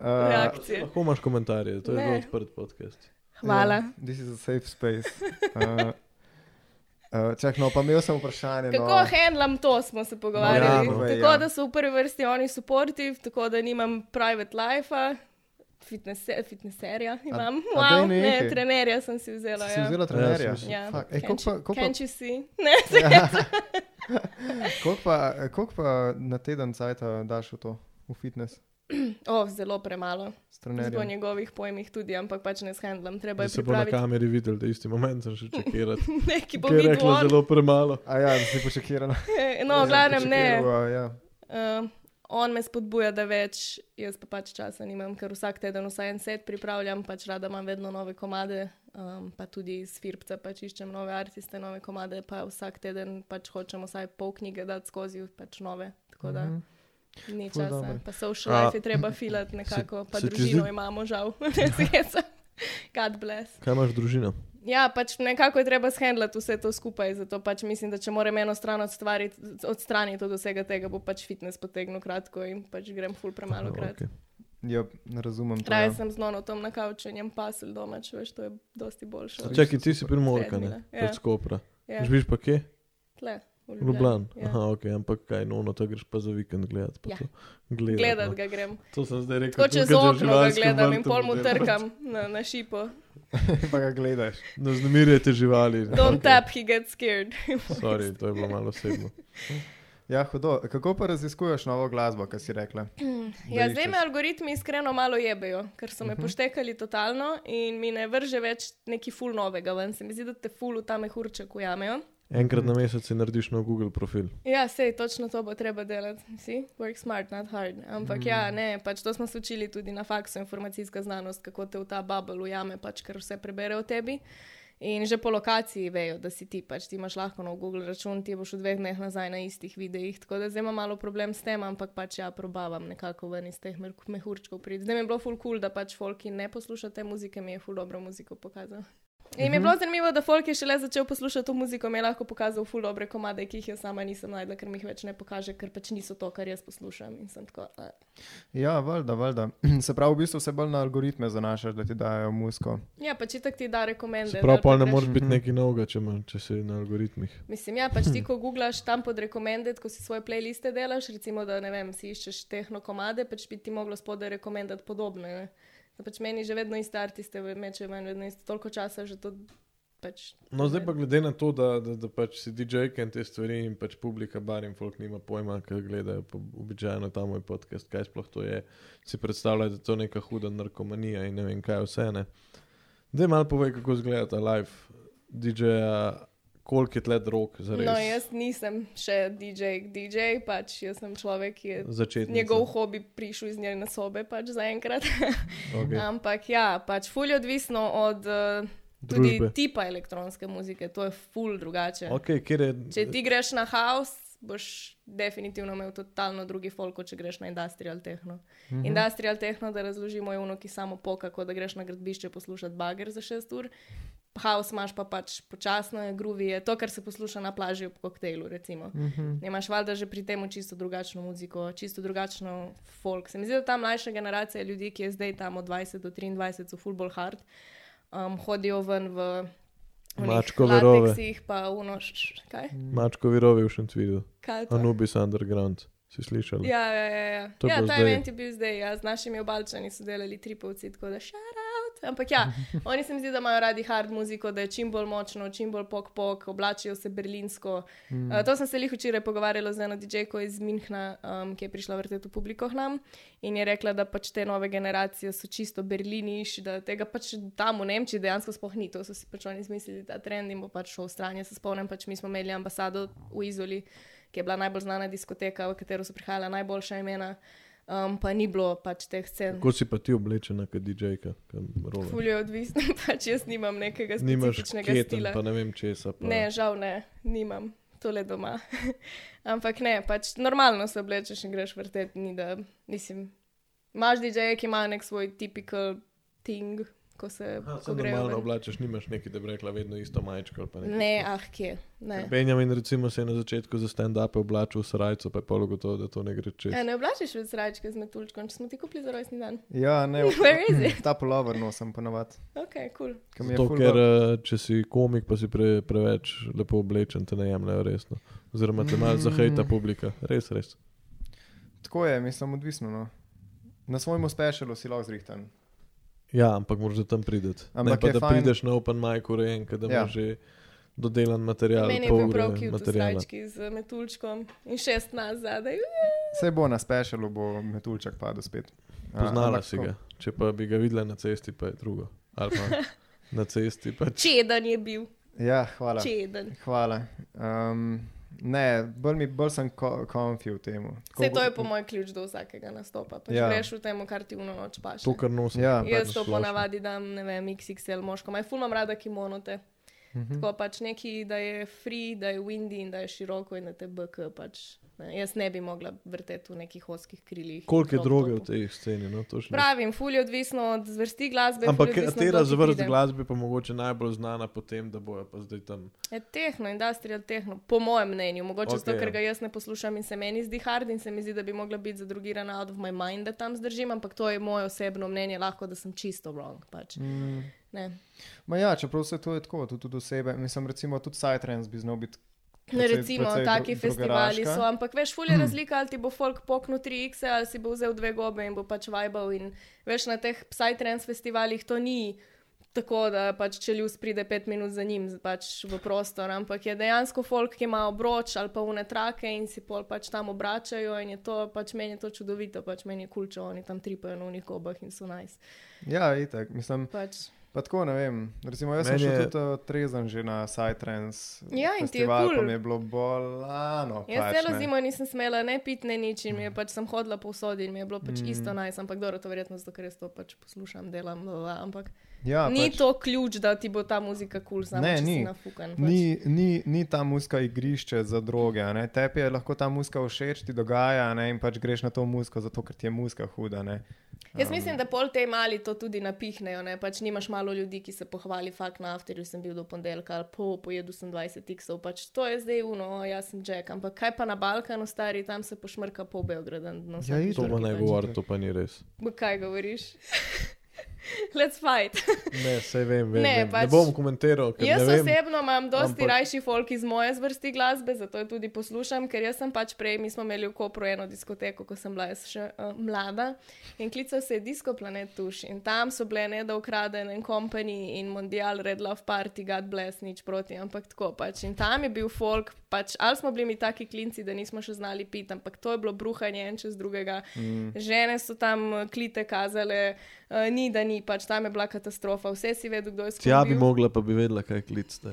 uh,
reakcije.
Lahko imaš komentarje, to je
Ne.
zelo odprt podcast.
Hvala.
Yeah, ja, this is a safe space. Uh, uh, čak, no, pa imel sem vprašanje.
Kako
no.
handlam to, smo se pogovarjali.
Ja, no.
tako
Ja.
da so v prvi vrsti oni supportive, tako da nimam private life-a, fitness, fitnesserja imam.
a daj
Wow, ne,
nehaj.
trenerja sem si vzela.
Si si
ja.
vzela
Ja,
trenerja?
sem si-
Ja.
Fuck, ej,
Can't
koliko pa-
you-
koliko pa-
Can't you see? Ne,
Koliko pa, koliko pa na teden cajta daš v to, v fitness?
oh, zelo premalo.
s
Po
trenerjem?
njegovih pojmih tudi, ampak pač ne shandlam. Treba
Da
je
se bo na
pripraviti
kameri videl, da isti moment sem še čekiral.
nekaj, bo
Ker je
videl.
rekla
on.
zelo premalo.
A ja, da si počekirala.
No, v glavnem ne.
Počekiral, ja.
Um, on me spodbuja, da več, jaz pa pač časa nimam, ker vsak teden vsaj en set pripravljam, pač rada imam vedno nove komade, um, pa tudi iz Firpca pač iščem nove artiste, nove komade, pa vsak teden pač hočem vsaj pol knjige dati skozi, pač nove. Tako da
Mhm.
ni
Ful
časa.
dobro.
Pa social
A-
life je treba filati nekako, pa
se ti
družino
zdi-
imamo žal. Se heca. God bless.
Kaj imaš družino?
Ja, pač nekako je treba shendlati vse to skupaj. Zato pač mislim, da če moram eno stran odstvariti- odstraniti od vsega tega, bo pač fitness potegnil kratko in pač grem ful premalo krat.
Okej.
Ja, ne razumem. to,
Raje
ja.
sem znono tam na kauču in jem pasel doma, če veš, to je dosti boljše.
A Čakaj, ti si primorka, ne?
Sedmila, ja.
Od Skopra.
Ja,
Živiš pa kje?
tle, v
Ljubljan.
Ja.
Aha, ok, ampak kaj, no, no, to greš pa za vikend gledat. pa
Ja.
to. Gledat,
Gledat
no.
ga grem.
To sem zdaj rekel.
Tako čez
tukaj za
okno ga
živalskim
gledam in
vrtom
pol mu
gledam.
trkam
pač-
na, na šipo.
Pa ga gledaš.
Ne znemirjajte živali.
Don't
Okej,
tap, he gets scared.
Sorry, to je bilo malo osebno.
Ja, hudo. Kako pa raziskuješ novo glasbo, kar si rekla? Da
Ja, zdaj
iščeš.
me algoritmi iskreno malo jebejo, ker so me uh -huh. poštekali totalno in mi ne vrže več neki ful novega ven. Se mi zdi, da te ful v ta mehurček ujamejo.
Enkrat na mesec si narediš nov Google profil.
Ja, sej, točno to bo treba delati. Si? Work smart, not hard. Ampak mm. ja, ne, pač to smo se učili tudi na faksu, informacijska znanost, kako te v ta bubble ujame, pač ker vse prebere o tebi. In že po lokaciji vejo, da si ti, pač ti imaš lahko nov Google račun, ti boš v dveh dneh nazaj na istih videih. Tako da zdaj imam malo problem s tem, ampak pač ja, probavam nekako ven iz teh mer- mehurčkov priti. Zdaj mi je bilo full cool, da pač folki ne poslušate muzike, mi je full dobro muziko pokazal. In
Mhm.
mi je bilo zanimivo, da folk je šele začel poslušati to muziko, mi je lahko pokazal ful dobre komade, ki jih jaz sama nisem najdla, ker mi jih več ne pokaže, ker pač niso to, kar jaz poslušam. In sem tako, "Eh."
Ja, valjda, valjda. Se pravi, v bistvu se bolj na algoritme zanašaš, da ti dajo musko.
ja, pač itak ti da rekomende.
Se pravi,
da
pol ne
greš-
moreš biti neki novega, če, ima- če si na algoritmih.
Mislim, ja, pač ti,
Hm.
ko googlaš tam pod rekomended, ko si svoje playliste delaš, recimo, da ne vem, si iščeš tehno komade, pač bi ti moglo spodaj rekomendati podobne. Ne? Da pač meni že vedno iste artiste, meče meni vedno iste, toliko časa že to pač.
No, zdaj pa glede na to, da, da, da pač si DJ-k in te stvari in pač publika, bar in folk nima pojma, ker gledajo pa običajno ta moj podcast, kaj sploh to je, si predstavljajo, da je to neka huda narkomanija in ne vem kaj vse. Ne? Zdaj malo povej, kako izgleda ta live DJ-ja, koliko je tle drog za res.
No, jaz nisem še DJ, DJ, pač jaz sem človek, ki je
Začetnica.
njegov hobi prišel iz njene sobe, pač zaenkrat.
okay.
Ampak ja, pač ful je odvisno od uh, tudi
Družbe.
tipa elektronske muzike, to je ful drugače.
Okay, kjer je,
ja. Če ti greš na house, boš definitivno imel totalno drugi folk, kot če greš na industrial tehno. Mm -hmm. Industrial tehno, da razložimo, je ono, ki samo poka, kot da greš na gradbišče poslušati bager za 6 ur. House imaš pa pač počasno, je groovy, je to, kar se posluša na plaži ob koktejlu. Recimo. Mm -hmm. Imaš valjda že pri tem čisto drugačno muziko, čisto drugačno folk. Se mi zdi, da ta mlajša generacija ljudi, ki je zdaj tam od 20 do 23, so full ball hard, um, hodijo ven v.
Mačkove rove.
Jih pa unoš, kaj?
Mačkovi rovi v Šentvidu,
Kaj je to?
Anubis Underground, si slišali?
Ja, ja, ja. ja.
To je
ja
bilo
ta
zdaj.
event je bil zdaj, ja, z našimi obalčani so delali tripovci, tako da šarout. Ampak ja, oni se mi zdi, da imajo radi hard muziko, da je čim bolj močno, čim bolj pok-pok, oblačijo se berlinsko. Mm. Uh, to sem se jih včeraj pogovarjala z eno DJ-ko iz Minhna, um, ki je prišla vrteti v publiko k nam in je rekla, da pač te nove generacije so čisto berliniš, da tega pač tam v Nemčiji dejansko sploh ni, to so si pač oni izmislili ta trend in bo pač šel v stran. Jaz se spomnim, pač mi smo imeli ambasado v Izoli ki je bila najbolj znana diskoteka, v katero so prihajala najboljša imena, um, pa ni bilo pač teh scen.
Kako si pa ti oblečena, kot DJ-ka, kot rovi?
Fulje je odvisno, pač jaz nimam nekega
Nimaš
specifičnega
keten,
stila.
pa ne vem česa. Pa...
Ne, žal ne, nimam. Tole doma. Ampak ne, pač normalno se oblečeš in greš vrtet, ni da, mislim, imaš DJ-je, ki ima nek svoj typical thing, ko se
Aha, se
ko grejo
normalno
ven.
oblačeš, nimaš neki, da bi rekla vedno isto majčko. ali pa nekaj
Ne,
takega.
ah, kje. Ne.
Benjamin recimo se je na začetku za stand-up oblačil v srajco, pa je polo gotovo, da to ne gre čez.
Ja, ne oblačiš v srajčke z metuljčkom, če smo ti kupili za rojstni dan.
Ja, ne,
Where is
ta polover nosim ponavadi.
Mhm.
Ok, kul. Cool.
ker mi je
Zato,
ful
ker
do-
eh, če si komik, pa si pre, preveč lepo oblečen, te ne jemljajo resno. Oziroma te malo zahejta publika. Res, res.
Tako je, mislim, odvisno. No. Na svojem specialu si lahko zrihtan.
Ja, ampak moraš do tam priti. Ne
Ampak
pa,
je
da
fajn-
prideš na open mic urejen, ker da
Ja.
imaš že dodelan material.
Meni je
Ja, pol
bil
ure
prav kjut v
materiala.
srajčki z metuljčkom in šest nas zadaj.
Saj bo na specialu, bo metulček padel spet. A,
Poznala
Ja, ampak
si
tako.
ga. Če pa bi ga videla na cesti, pa je drugo. Ali pa na cesti pač.
Čeden je bil,
Ja, hvala.
čeden.
hvala. Um, ne, bolj, mi, bolj sem ko- konfi v tem.
Vse to je po mojem ključ do vsakega nastopa. Pač
Ja.
ja. Greš v tem, kar ti uno noč paš.
To, kar nosim.
Ja.
pač
Jaz to
splošno.
ponavadi dam, ne vem, XXL moško, maj fulmam rada kimonote. Mhm. Tako pač neki, da je free, da je windy in da je široko in da te BK pač. Ne, jaz ne bi mogla vrteti v nekih oskih krilih.
Koliko je
crop
droge v
topu.
tej sceni? No, točno.
Pravim, ful je odvisno od zvrsti glasbe. ful je
Ampak
odvisno, kdo
katera
ti
zvrst
pride.
glasbe pa mogoče najbolj znana po tem, da bojo pa zdaj tam.
Je Ja, tehno, industrial tehno, po mojem mnenju. Mogoče okay,
Okej,
zato, ker
ja.
ga jaz ne poslušam in se meni zdi hard in se mi zdi, da bi mogla biti zadrugirana out of my mind, da tam zdržim, ampak to je moje osebno mnenje, lahko da sem čisto wrong. Pač. Mm. Ne.
Ma ja, čeprav se to je tako, tudi od osebe. Mislim, recimo tudi Sajtrens bi znal biti.
Ne,
precej-
No, recimo,
precej
taki
dro- Mhm.
festivali
drogeraška.
so, ampak veš, fulje razlika, ali ti bo folk poknil 3x ali si bo vzel dve gobe in bo pač vibal. In veš, na teh Psytrance festivalih to ni Tako da pač če ljus pride pet minut za njim, z- pač v prostor, ampak je dejansko folk, ki ima obroč ali pa une trake in si pol pač tam obračajo in je to, pač meni je to čudovito, pač meni je kul, cool, če oni tam tripajo na unih obah in so najs. Nice.
Ja, itak, mislim,
Pač,
pa tako ne vem. Recimo, jaz sem
Meni
šel
je-
tudi eh, trezen že na Psytrance.
Ja, in ti je
festival, pa
kul.
mi je bilo bolano.
jaz
pač,
celo
ne.
zimo nisem smela ne piti, ne nič in mi je pač sem hodila povsod in mi je bilo pač
Mm.
mm. isto najs, nice, ampak dobro, to verjetno zato, ker jaz to pač poslušam, delam, bla, bla, ampak
Ja,
ni
pač,
pač... to ključ, da ti bo ta muzika kul, cool, samo
Ne,
če
ni.
si nafukan. Pač.
Ni, ni, ni ta muska igrišče za droge, a ne? tebi je lahko ta muska všeč, ti dogaja a ne? in pač greš na to musko, zato ker ti je muska huda. Ne?
Jaz mislim, da pol te mali to tudi napihnejo. Ne? Pač nimaš malo ljudi, ki se pohvali, fakt na afterju sem bil do ponedeljka ali po, pojedel sem 20 tiksov, pač to je zdaj uno, o, jaz sem Jack. Ampak kaj pa na Balkanu, stari, tam se pošmrka po Beogradu. na vsaki
Ja, itak.
To
žurki
bo naj
pač.
govor, to pa ni res.
Ma Kaj govoriš? Let's fight.
Ne, sej vem, vem. Ne,
Ne,
vem. ne
pač-
bom komentiral, ker
Jaz
ne vem.
osebno imam
ampak-
dosti ampak... rajši folk iz moje zvrsti glasbe, zato jo tudi poslušam, ker jaz sem pač prej, mi smo imeli v Kopru eno diskoteko, ko sem bila jaz še uh, mlada in klical se je Disco Planet Tuš in tam so bile ne da ukraden en company in Mondial Red Love Party, God bless, nič proti, ampak tako pač. In tam je bil folk, pač ali smo bili mi taki klinci, da nismo še znali piti, ampak to je bilo bruhanje en čez drugega. Mm. Žene so tam eh, klite kazale, uh, ni da ni, pač tam je bila katastrofa, vse si vedel, kdo je
Tja ja bi
skupaj.
mogla, pa bi vedela, kaj klicate.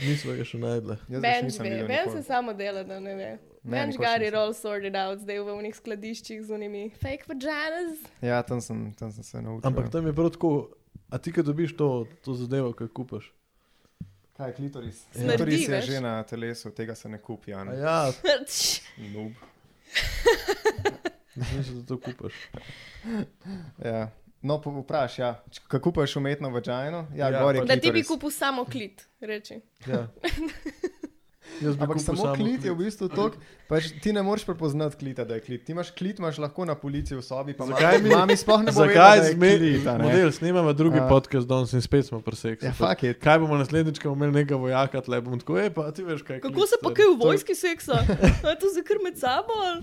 Nismo ga še najdla.
Jaz več
Benč
nisem
ve,
videl
Benč
nikoli.
se samo dela, da ne ve.
Ne,
Benč
nikoli
got
še
it all sorted out, zdaj v unih skladiščih z unimi fake vaginas.
Ja, tam sem, tam sem se naučil.
Ampak tam je prav tako, a ti, ki dobiš to, to zadevo, ki kupaš.
Kaj je klitoris?
Smrdi,
klitoris je
veš.
že na telesu, tega se ne kupi. Ja,
A
ne?
ja,
Tš,
Noob.
mislim, da to kupaš.
ja. No, po- vpraš, ja. Č- kako pa ješ umetno vagino? Ja,
Ja,
ja gor je
pač-
Da ti bi
klitoris.
kupil samo klit, reči.
Ja. Jaz bi
Ampak
kupil
samo klit je v bistvu to, pač ti ne moreš prepoznati klita, da je klit. Ti imaš klit, imaš lahko na policiji v sobi, pa
Zakaj mi-
mami, mami sploh ne bo vedela, da
Zakaj
je
zmeri?
klit, a ne?
Model, snemamo drugi uh,
A.
podcast danes in spet smo presekli.
Ja, fuck it.
Kaj bomo naslednjič, ko bomo imeli nekega vojaka, tle bomo tako, e pa ti veš kaj. je
Kako
klic,
se pa
stari."
kaj v
To-
vojski seksa? A je to zakrm med sabo? ali?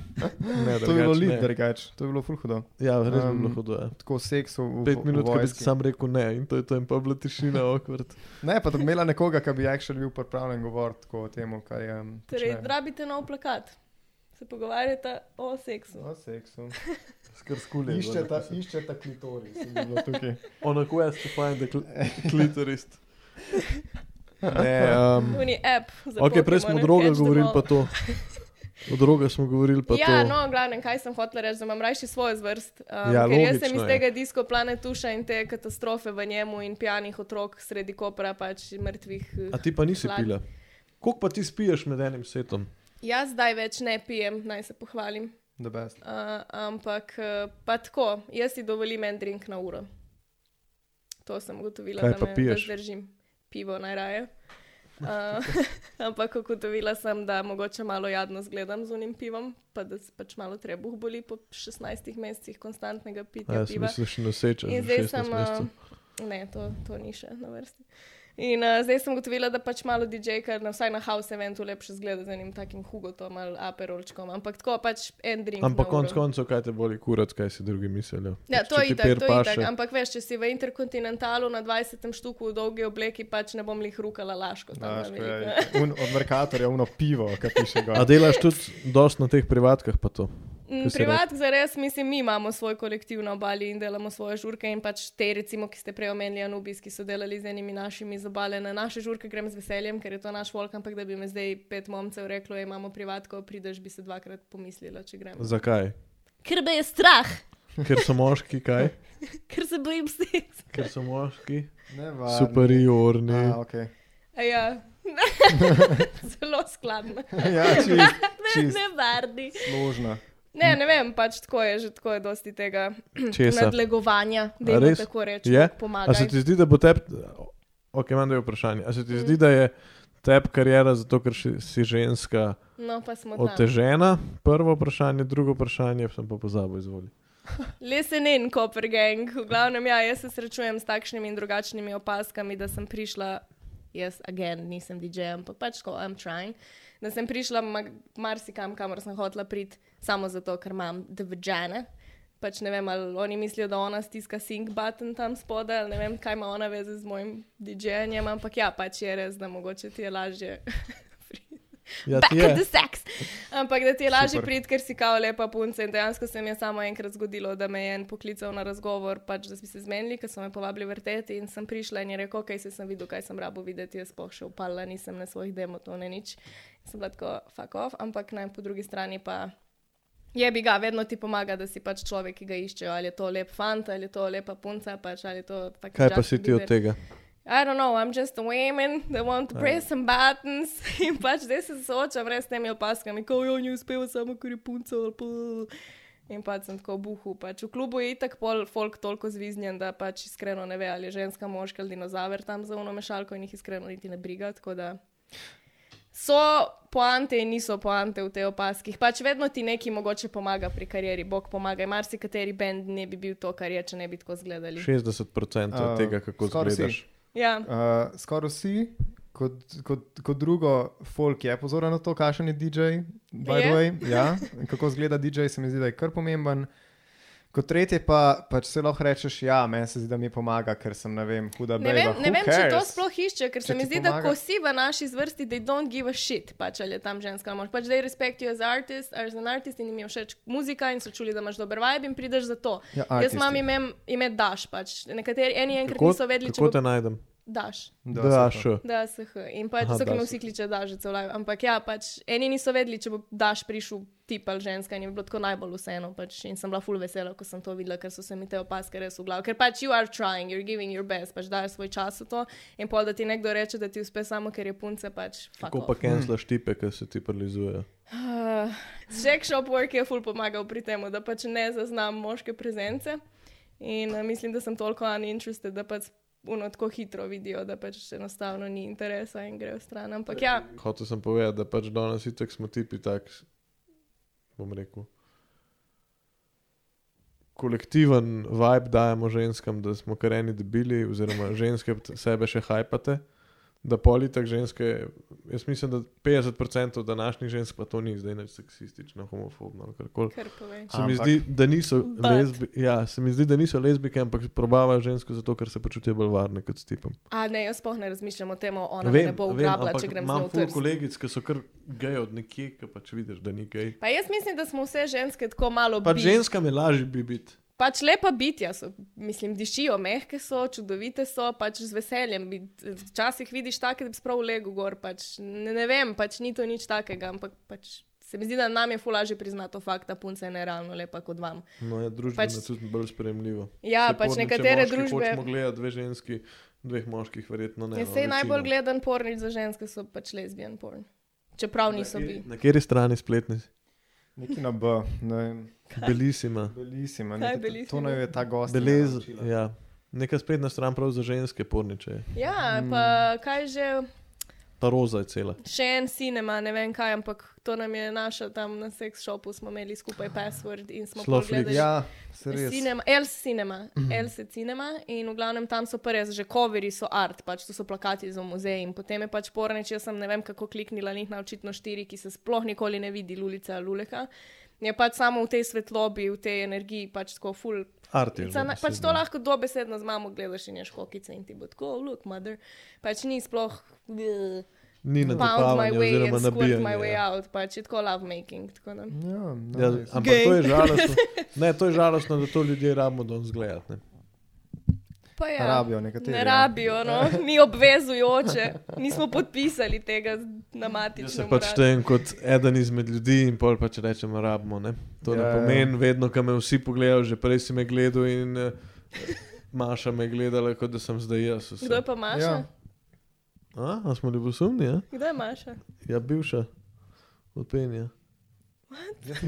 Ne,
To je bilo
drugače
lid,
ne.
drugač. To je bilo ful hudo.
Ja, res bi
Um,
bilo hudo. ja.
Tako seks v, v,
Pet minut,
v
ko bi
vojski.
sam rekel ne in to je to in pa je bila tišina okvrt.
Ne, pa da bi imela nekoga, ki bi actually bil pripravljen govoriti tako o tem, kar je. Um,
Torej, rabite nov plakat. Se pogovarjate o seksu.
O seksu.
Skrb kulje.
Iščeta, iščeta klitoris. je bilo tukaj.
On a quest to find the cl clitorist. Ne, um,
Uni app. za
ok, prej smo o
Pokemone,
drogah
catch them
govorili,
all.
pa to. O drogah smo govorili, pa
ja,
to.
no, glavno, kaj sem hotel reči, da imam rajši svojo zvrst. Um,
Ja,
ja, ker jaz sem
logično
iz
je.
tega disko planetuša in te katastrofe v njemu in pijanih otrok sredi kopra, pač mrtvih.
A ti pa nisi
Hlad.
pila. Koliko pa ti spiješ med enim setom?
Jaz Ja, zdaj več ne pijem, naj se pohvalim.
The best.
Uh, ampak uh, pa tako, jaz si dovolim en drink na uro. To sem ugotovila,
Kaj
da
pa
me
piješ?
držim pivo najraje. Uh, ampak ugotovila sem, da mogoče malo jadno zgledam z unim pivom, pa da se pač malo trebuh boli po 16 mesecih konstantnega
A
pitja
jaz
Ja, piva.
mislim, še noseča.
In zdaj sem. Uh, ne, to, to ni še na vrsti. In uh, zdaj sem ugotovila, da pač malo DJ-ka, na vsaj na house eventu, lepše zgleda z enim takim hugotom ali aperolčkom. Ampak tako pač en drink.
Ampak
na
konc
uro.
koncev, kaj te boli kurat, kaj si drugi mislijo.
Ja,
Pač, če
to je
ti
itak,
per
to je itak.
paše-
Ampak veš, če si v interkontinentalu na 20. štuku v dolgi obleki, pač ne bom lih rukala laško. Tam,
Daš,
na
ko
ja,
veliko.
je un, od merkatorja uno pivo, ki piše
A
gor.
delaš tudi dost na teh privatkah, pa to.
Mm,
Ko si
Privat, za res, mislim, mi imamo svoj kolektiv na obali in delamo svoje žurke. In pač te, recimo, ki ste prej omenili, Anubis, ki so delali z enimi našimi z obale, na naše žurke grem z veseljem, ker je to naš volk, ampak da bi me zdaj pet momcev reklo, "Ej, imamo privatko, prideš, bi se dvakrat pomislila, če grem.
Zakaj?
Ker me je strah,
Ker so moški, kaj?
ker se bojim seks.
Ker so moški.
Nevarni.
Superiorni.
A, okay.
A Ja. Zelo skladno,
ja, čist, čist.
nevarni.
Složna.
Ne, ne vem, pač tako je, že tako je dosti tega
Česa?
nadlegovanja,
A
da
res?
je tako rečeno.
Je?
Yeah.
A se ti zdi, da bo tep... Ok, imam dve vprašanje. A se
Mm.
ti zdi, da je tep karijera zato, ker si- si ženska
No, pa smo tam.
otežena? Prvo vprašanje, drugo vprašanje, sem pa pozabil, izvoli.
Listen in, Copper Gang. V glavnem, ja, jaz se srečujem s takšnimi in drugačnimi opaskami, da sem prišla, jaz, again, nisem DJ, ampak pač ko I'm trying, da sem prišla ma- marsikam, kamor sem hotla priti, samo zato, ker imam dvžene. Pač ne vem, ali oni mislijo, da ona stiska sync button tam spodaj, ali ne vem, kaj ima ona veze z mojim DJ-jem, ampak ja, pač je res, da mogoče ti je lažje. pri-
Ja,
Back
ti
yeah.
je.
at the sex. Ampak da ti je lažje
Super.
priti, ker si kao lepa punca. In dejansko se mi je samo enkrat zgodilo, da me je en poklical na razgovor, pač, da smo se zmenili, ker so me povabili vrteti in sem prišla in je rekel, ok, se sem videl, kaj sem rabo videti, jaz sploh še upala, nisem na svojih demotov, ne nič. Sem bila tako fuck off, ampak naj po drugi strani pa. Je bi ga, vedno ti pomaga, da si pač človek, ki ga iščejo. Ali je to lep fant, ali je to lepa punca, pač, ali je to pač.
Kaj pa si ti od tega?
I don't know, I'm just a woman that want to press some buttons. In pač zdaj se soočam res s temi opaskami, ko jo ni uspel, samo ker je punca ali pa. In pač sem tako buhu. Pač v klubu je itak pol folk toliko zviznjen, da pač iskreno ne ve, ali je ženska, moška ali dinozaver tam za uno mešalko in jih iskreno niti ne briga. Tako da so poante in niso poante v tej opaskih. Pač vedno ti neki mogoče pomaga pri karieri, bog pomaga. Marsikateri bend ne bi bil to, kar je, če ne bi tako zgledali.
60%
A,
uh, tega, kako
skoraj vsi.
zgledaš.
Ja.
Uh, skoraj vsi, kot, kot, kot drugo, folk je pozoren na to, kakšen je DJ, by the
Je?
way. Ja, kako izgleda DJ, se mi zdi, da je kar pomemben. Kot tretje pa, pač se lahko rečeš, ja, meni se zdi, da mi pomaga, ker sem, ne vem, huda
Ne
beba.
vem, ne
who
vem če to
cares?
sploh išče, ker se
Če
mi
ti
zdi, da
pomaga.
ko si v naši zvrsti, da don't give a shit, pač ali je tam ženska ali mož. Pač they respect you as artist, as an artist in jim je všeč muzika in so čuli, da imaš dober vibe in prideš za to.
Ja,
Jaz
artisti.
imam ime, ime Daš, pač. Nekateri eni enkrat
Kako,
niso vedeli, če
kako
bo
te najdem?
Daš.
Da,
super.
še.
Da, SH. In pač
Aha,
so, ki me
Daš.
vsi kliče, da že celo. Ampak ja, pač eni niso vedeli, če bo daš prišel tip ali ženska in je bilo tako najbolj vseeno. Pač. In sem bila full vesela, ko sem to videla, ker so se mi te opaske res v glavu. Ker pač you are trying, you're giving your best, pač daš svoj čas v to. In pol, da ti nekdo reče, da ti uspe samo, ker je punce pač. fuck
Kako
off.
pa
Mm.
kenslaš tipe, ki se ti paralizujejo?
Uh, Jack Shopwork je ful pomagal pri tem, da pač ne zaznam moške prezence. In uh, mislim, da sem toliko uninterested, da pač uno tako hitro vidijo, da pač enostavno ni interesa in grejo stran. Ampak ja,
Hotel sem povedati, da pač danes itek smo tipi tak, bom rekel. Kolektiven vibe dajemo ženskam, da smo kar eni debili, oziroma ženske t- sebe še hajpate, da politik ženske, jaz mislim, da 50% današnjih žensk pa to ni, zdaj neč seksistično, homofobno ali karkoli.
kar povej.
Se mi,
Ampak-
zdi, da niso
But.
lezbi, ja, se mi zdi, da niso lezbike, ampak probavajo žensko zato, ker se počutijo bolj varne kot s tipom.
A ne, jaz sploh ne razmišljam o tem, ona vem, me ne bo ugrabila, če grem z njo
imam
v
ful
trg.
kolegic, ki so kar gej od nekje, ki pač vidiš, da ni gej.
Pa jaz mislim, da smo vse ženske tako malo
Pa
bi-
ženskam je lažje bi biti.
Pač lepa bitja so, mislim, dišijo, mehke so, čudovite so, pač z veseljem. bi- Včasih vidiš take, da bi sprav lego gor, pač ne, ne vem, pač ni to nič takega, ampak pač se mi zdi, da nam je fulaže priznato fakt, da punce je nerealno lepa kot vam.
No, je družbeno
Pač-
pač, tudi bolj sprejemljivo.
Ja,
Saj
pač
porni, če
nekatere
moški
družbe-
Hočemo gledati dve ženski, dveh moških, verjetno ne. no,
Ne, Jaz se najbolj gledan pornič za ženske so pač lesbijan porn. Čeprav niso bili.
Na kateri strani spletni?
Nekaj na B, ne vem.
Belisima.
Belisima,
Kaj
nekaj-
Belisima?
to naj je ta gost.
Belez, ja. Neka spletna stran prav za ženske porniče. je.
Ja,
Hmm.
pa kaj že.
Ta roza je cela.
Še en cinema, ne vem kaj, ampak to nam je naša tam na sex shopu, smo imeli skupaj password in smo
Slow flick.
pogledali.
Ja, se res. Mhm.
Cinema, Else Cinema, Else Cinema in v glavnem tam so pa res že coveri, so art, pač to so plakati za muzej in potem je pač porneč, jaz sem ne vem kako kliknila njih na očitno štiri, ki se sploh nikoli ne vidi, Lulica ali Luleka. Je pač samo v tej svetlobi, v tej energiji, pač tako full
Arti.
Ca- na- Pač to lahko dobesedno z mamo gledaš in ješ hokice in ti bo tako, oh, look, mother. Pač ni sploh. bleh,
Ni na
Found my
tapavanje
way
oziroma
and squirt my way
nabijanje. ja.
out, pač je tako love making. Tako da.
Ja,
Ja,
nice.
ampak
Gej.
to je žalostno. Ne, to je žalostno, da to ljudje rabimo danes gledati. ne.
Pa ja,
Rabijo nekateri,
Ne
ja.
rabijo, no. ni obvezujoče, nismo podpisali tega na
Jaz
matičnem
se pač
uradu.
štejem kot eden izmed ljudi in pol pač rečem, rabimo. Ne? To
Ja,
ne
ja.
pomeni, vedno, ko me vsi pogledajo, že prej si me gledal in eh, Maša me je gledala, kot da sem zdaj jaz. vse.
Kdo je pa Maša?
Ja.
Ja.
A, a smo ljubosumni, ja?
Kdo je Maša?
Ja, bivša. Odpenja.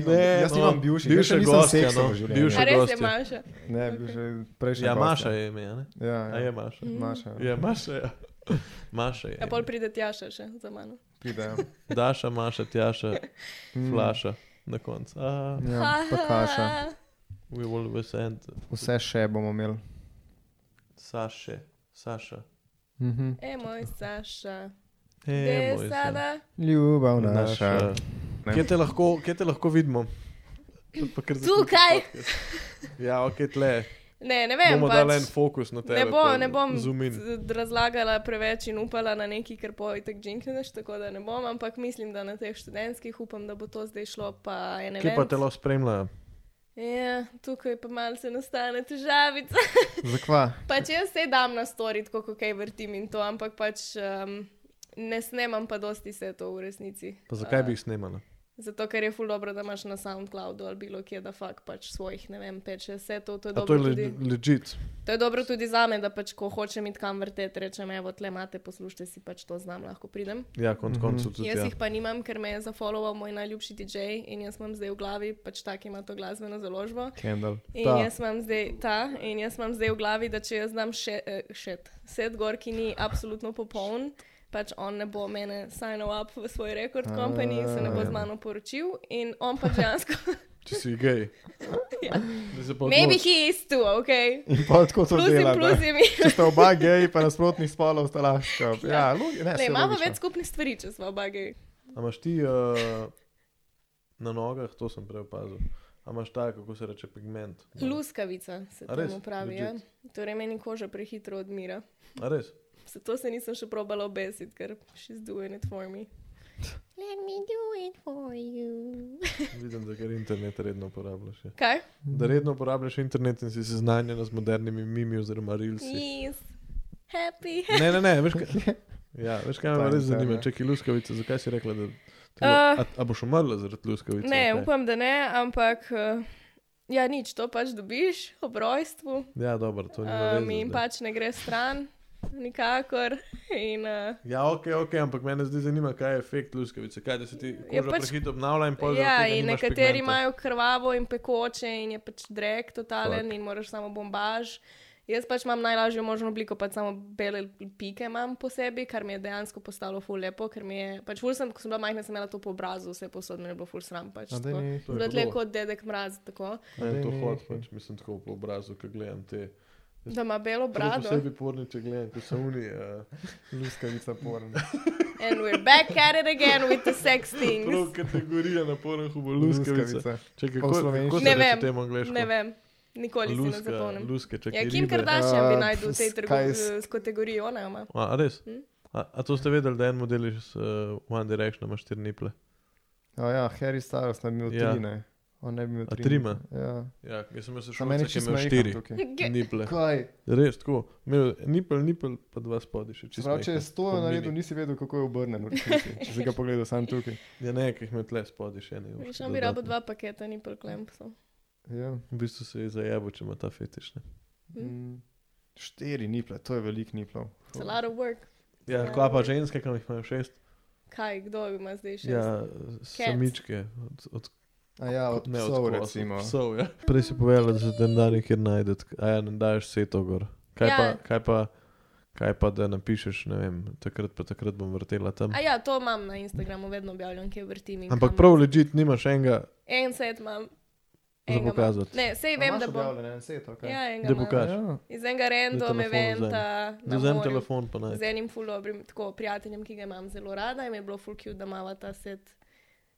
Ne, jaz nimam bivših, jaz še nisem
no, gostja,
seksa
no,
v življenju.
bivša
A res je
gostja.
Maša.
Ne, bil že prejšnji.
Ja,
gost,
Maša je ime, ja, ne?
Ja,
A
ja.
je Maša.
Maša. Ja.
Ja, Maša je. Maša je.
A Ja, pol pride Tjaša še za mano.
Pride, ja.
Daša, Maša, Tjaša,
Mm.
Flaša na koncu. Ah,
Ja, pa kaša.
we will be sent.
Vse še bomo imeli.
Saše, Saša.
Mhm.
E, moj Saša.
Hey,
E,
moj
sada.
Ljubav
Naša.
naša.
Kje te lahko, kje te lahko vidimo? To pa kar zaključi
Tukaj!
podcast. Ja, ok, tle.
Ne, ne vem.
Bomo
Pač.
dali en fokus na tebe.
Ne, bo,
pol
ne bom
Zoom in.
z- razlagala preveč in upala na neki, ker pojetek džinkneš, tako da ne bom, ampak mislim, da na teh študentskih upam, da bo to zdaj šlo pa ene
Kje pa telo spremlja?
Ja, tukaj pa malce nastane težavica.
Zakva?
pač jaz se dam na storit, kako kaj vrtim in to, ampak pač um, ne snemam pa dosti se to v resnici.
Pa zakaj bi
Eh,
jih snimala?
Zato, ker je ful dobro, da imaš na SoundCloudu ali bilo kje, da fakt pač svojih, ne vem, peče vse to, to je
A to
dobro.
je
tudi-
le- legit.
To je dobro tudi za me, da pač, ko hočem iti kam vrteti, rečem, evo, tle imate, poslušajte si pač to znam, lahko pridem.
Ja, konc koncev tudi.
Jaz
Ja.
jih pa nimam, ker me je zafollował moj najljubši DJ in jaz imam zdaj v glavi, pač tak ima to glasbeno založbo.
Kendall.
In
Ta.
jaz imam zdaj ta, in jaz imam zdaj v glavi, da če jaz znam še, eh, šet, set gor, ki ni absolutno popoln, pač on ne bo mene signal up v svoj rekord company in se ne bo z mano poročil in on pač dejansko,
Če si gej.
Ja.
Da se pa
maybe
odloči.
he is too, ok?
In pa tako to
Plus in
dela.
plus
da.
je
Če sta oba geji, pa nasprotnih spolov sta lahko. Ja, logi, ne,
Ne,
saj
imamo
logično.
več skupnih stvari, če smo bagi.
A imaš ti uh, na nogah, to sem prej opazil. A imaš ta, kako se reče, pigment?
Luskavica se
Ja. A res?
temu pravi. Ja.
Legit?
Torej, meni koža prehitro odmira.
A res?
Zato se nisem še probala obesiti, ker she's doing it for me.
Let me do it for you.
Vidim, da ker internet redno uporabljaš. Ja.
Kaj?
Da redno uporabljaš internet in si seznanjena z modernimi mimi oziroma reelsi.
Yes. Happy.
Ne, ne, ne, veš kaj. Ja, veš kaj me
Ta
res zanima,
internet.
če je luskavica, zakaj si rekla, da. Telo,
Eh.
a, a boš umrla zaradi luskavice?
Ne,
ali kaj?
upam, da ne, ampak eh, ja, nič, to pač dobiš ob rojstvu.
Ja, dobro, to ni.
Um, in pač ne gre stran, nikakor. In, uh,
Ja, ok, ok, ampak mene zdaj zanima, kaj je efekt luskavice. Kaj da se ti koža pač...
pač-
prehitro obnavlja in pol
ja,
zaradi tega
in
nimaš
nekateri
pigmenta.
imajo krvavo in pekoče in je pač drek totalen
Fuck.
in moraš samo bombaž. Jaz pač imam najlažjo možno obliko, pač samo bele pike imam po sebi, kar mi je dejansko postalo ful lepo, ker mi je, pač ful sem, ko sem bila majhna, sem imela to po obrazu, vse posod mi je bilo ful sram, pač
A daj
tako.
mi-
To je
Bilo tle
hudo.
kot dedek mraz, tako,
Ne, to
Daj mi
hod,
nekaj.
pač mislim tako po obrazu, ko gledam te.
da ima belo brado.
Vse bi porni, če gledam, ko so oni. Uh,
Luskavica porn.
And we're back at it again with the sex
prav
things.
kategorija na pornihu bo luskavica. Če
Pa v
kako, kako
slovenščini.
se
Ne
reče
vem,
temu angliško?
Ne vem, nikoli si ne
Luska,
zapomnim.
luske, čakaj.
Ja, Kim Kardashian bi najdel v tej
Uh, kaj s-
trgovini s kategorijo, ona jo ima.
A, a res?
Hm?
A, a to ste vedeli, da en model iz uh, One Direction ima štiri niple?
Ja, ja, Harry Styles ne bi imel
Ja.
tri, ne. On ne bi imel
A
tri.
tri ima?
Ja.
Ja, jaz sem se
Samo
šel, da
meni
je
čisto
imel
smejka
štiri
tukaj.
niple.
Kaj?
Res tako. Imel je Nipel, nipel, pa dva spodaj še
Se
čisto.
Prav, če je
majhen.
sto
Po
naredil,
mini.
nisi vedel, kako je obrnen. v resnici, Če si ga pogledal sam tukaj.
Ja, ne, ki jih ima tle spodaj Ja, še ne.
Viš, on bi rabo dva paketa, ni preklempsov.
Ja.
V bistvu se je zajabo, če ima ta fetiš. Ne?
Mm. Štiri nipla, to je velik niplov.
Hm? It's a lot of work.
Ja, kva pa ženske, kam jih imajo šest.
Kaj, kdo ima zdaj še?
Ja, samičke. Od, od,
A ja, od
ne, od
psov
kos,
recimo.
Od psov, ja. Prej si povedal, da se ten dan nikjer najde, a ja, ne daš vse to gor. Kaj,
Ja.
ja. pa, kaj, pa, kaj pa, da napišeš, ne vem, takrat pa takrat bom vrtela tam.
A ja, to imam na Instagramu, vedno objavljam, kje vrtim. in
Ampak
kam.
prav ležit nimaš enega
En set imam.
Za
enega imam.
pokazati.
Ne, sej vem, da bom. Ja, enega
Da
imam.
pokažeš.
Ja.
Iz enega random
telefon vzemi.
eventa. na
Vzem
morju.
telefon pa naj.
z enim ful dobrim, tako prijateljem, ki ga imam zelo rada in mi je bilo ful cute, da imava ta set.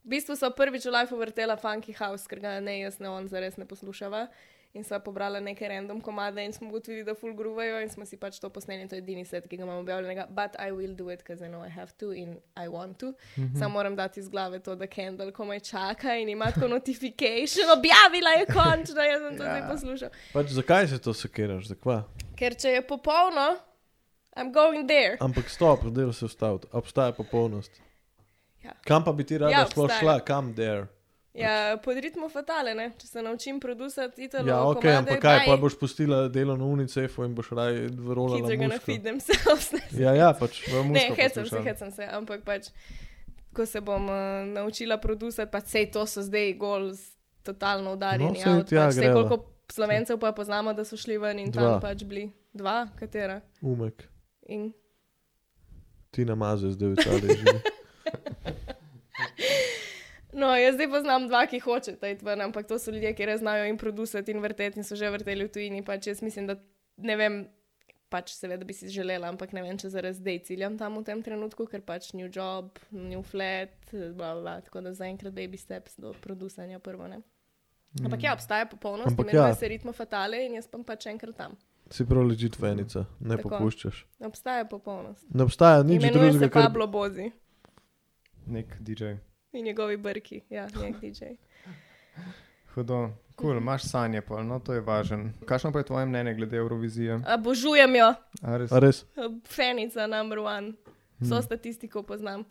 V bistvu so prvič v life vrtela Funky House, ker ga ne jaz, ne on zares ne poslušava. In sva pobrala neke random komade in smo ugotovili, da ful gruvajo in smo si pač to posneli. To je edini set, ki ga imam objavljenega. But I will do it, because I know I have to in I want to. Mm -hmm. Samo moram dati iz glave to, da Kendall komaj čaka in ima tako notification, objavila je končno, jaz sem to yeah. zdaj poslušal.
Pač zakaj se to sekiraš, zakva?
Ker če je popolno, I'm going there.
Ampak stop, zdaj se ustaviti, obstaja popolnost.
Ja.
Kam pa bi ti rada
Ja,
ja, sploh
obstaja.
šla, kam der?
Ja, pod ritmo fatale, ne? če se naučim producirati italo.
Ja, ok,
komade,
ampak kaj, pa
bye.
boš pustila delo na UNICEF-u in boš raj rolala
Kids are gonna
muško.
feed themselves.
Ja, ja, pač.
ne, hecam se, hecam se, ampak pač, ko se bom uh, naučila producirati, pa sej to so zdaj gol s- totalno udarjeni.
No, saj tja
pač, sej
greva.
koliko slovencev pa poznamo, da so šli ven in
Dva.
tam pač bili dva, katera.
Umek.
In
Ti namaze zdaj v Italiji. živi.
No, jaz zdaj poznam dva, ki hočeta iti ven, ampak to so ljudje, ki res znajo in producirati in vrteti in so že vrteli v tujini. Pač jaz mislim, da ne vem, pač seveda bi si želela, ampak ne vem, če zares zdaj ciljam tam v tem trenutku, ker pač new job, new flat, bla, bla, bla, tako da zaenkrat baby steps do produciranja prvo. Ne? Ampak ja, obstaja popolnost,
Mm. Ampak
imenuje
ja.
ja. se ritmo fatale in jaz pa pač enkrat tam.
Si prav ležit venica, ne
Tako.
popuščaš.
Obstaja popolnost.
Ne obstaja nič
Imenuje
drugega,
se
kar
Pablo Bozi
nek DJ.
in njegovi brki, ja, nek DJ.
Hudo, kul,
Mhm.
cool, imaš sanje, pol, no to je važen. Kakšno pa je tvoje mnenje glede Eurovizije?
Obožujem jo,
A res?
A res?
fenica number one.
Hmm.
So statistiko poznam.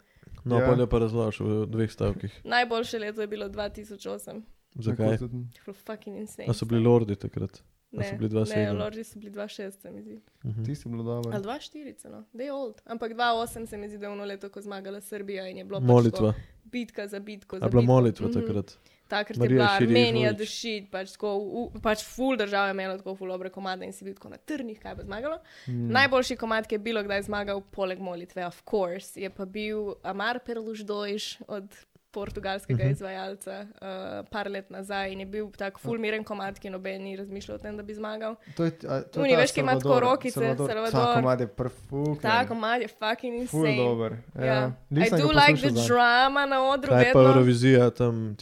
No,
Ja.
yeah. polje pa razložiš v dveh stavkih.
Najboljše leto je bilo 2008.
Zakaj?
Tako tudi-
Fru- Fucking insane.
A so bili lordi takrat? a so bili
ne,
2007?
Lordi so bili 2,6, se mi zdi.
Mhm.
Ti si bil
Ali
dober.
2,4, no, they old. Ampak 2,8 se mi zdi, da je ono leto, ko je zmagala Srbija in je bilo
Molitva.
Pač to, bitka za bitko. Za
A bila
bitko.
molitva
Mhm.
takrat?
Takrat je
Marija
bila
Širić
Armenija,
Vujić.
da šit, pač, tako u- pač full država je imela tako full obre komade in si bil tako na trnih, kaj bo zmagalo. Mm. Najboljši komad, ki je bilo kdaj zmagal, poleg molitve, of course, je pa bil Amar Perluš Dojš od portugalskega
Mhm.
mm -hmm. izvajalca uh, par let nazaj in je bil tak full miren komad, ki noben ni razmišljal o tem, da bi zmagal.
To je, a, to
Oni,
je ta
veš, ki ima tako
Salvador,
rokice, Salvador.
Ta komad je perfuk.
Ta komad je fucking
Ful
insane.
dober.
Ja.
Ja.
I do like the drama na odru.
Kaj pa
vedno.
Eurovizija tam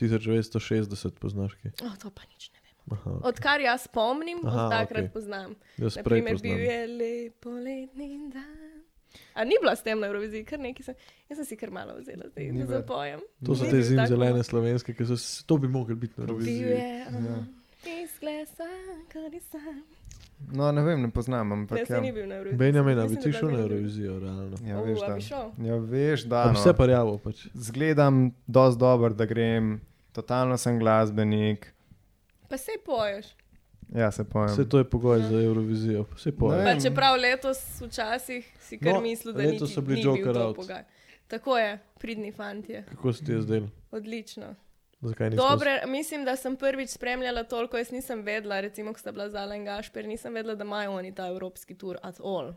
1960 poznaš? kaj?
Oh, to pa nič ne vem.
Aha,
Odkar jaz spomnim,
Aha,
od takrat
okej.
okay. poznam.
jaz prej
Naprimer, bil
poznam.
je lepo letni dan. A ni bila s tem na Euroviziji, kar nekaj sem. Jaz sem si kar malo vzela, zdaj
Ni
da
ver.
zapojem.
To so
Ni
te
bil tak
zimzelene
komad.
slovenske, ki so s- to bi mogli biti na Euroviziji.
Bil je.
Ja.
Ja. Izglesan, kot nisem.
No, ne vem, ne poznam, ampak
Jaz
ja.
ni bil na Euroviziji.
Benjamina, bi
Mislim,
ti
da
šel na
Benjamin.
Eurovizijo, realno.
Ja,
U,
veš,
a
da.
bi šel?
Ja, veš, da.
A bi
no.
Vse parjavo pač.
Zgledam dosti dober, da grem, totalno sem glasbenik.
Pa se poješ.
Ja, se pojem.
Vse to je pogoj za Eurovizijo, vse
Ne
poje.
vem.
Pa čeprav letos včasih si kar
No,
no, mislil, da
letos
niti
so bili
ni bil
Joker
to
out.
pogaj. Tako je, pridni fantje.
Kako se ti je zdelo?
Odlično.
Zakaj nisi?
Dobre, mislim, da sem prvič spremljala toliko, jaz nisem vedela, recimo, ko sta bila Zala in Gašper, nisem vedela, da imajo oni ta evropski tur at all.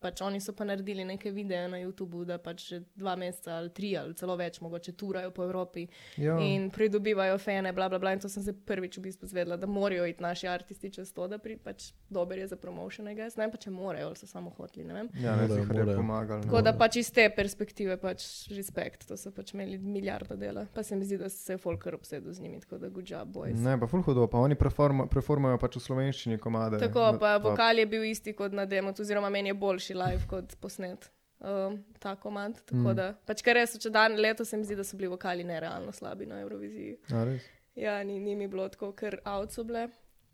Pač oni so pa naredili neke videe na YouTubu, da pač že dva meseca ali tri ali celo več mogoče turajo po Evropi
Ja.
in pridobivajo fene, bla, bla, bla. In to sem se prvič v bistvu zvedela, da morajo iti naši aristi čez to, da pri, pač dober je za promotionega. Jaz ne vem pa, če morajo ali so samo hoteli, ne vem.
Ja, ne,
Morajo,
zihar je
morajo.
pomagal.
Tako
no.
da pač iz te perspektive, pač respekt, to so pač imeli milijardo dela. Pa se mi zdi, da se je Folker obsedel z njimi, tako da good job, boys. Ne.
Ne, pa ful hudo, pa oni preforma- preformajo pač v slovenščini komade.
Tako,
No,
pa vokal je bil isti kot na demo, oziroma meni je boljši live kot posnet. Um, ta komand, tako mm. da. Pač kar res, če dan leto se mi zdi, da so bili vokali nerealno slabi na Euroviziji.
A, res?
Ja, ni, ni mi bilo tako, ker out so bile,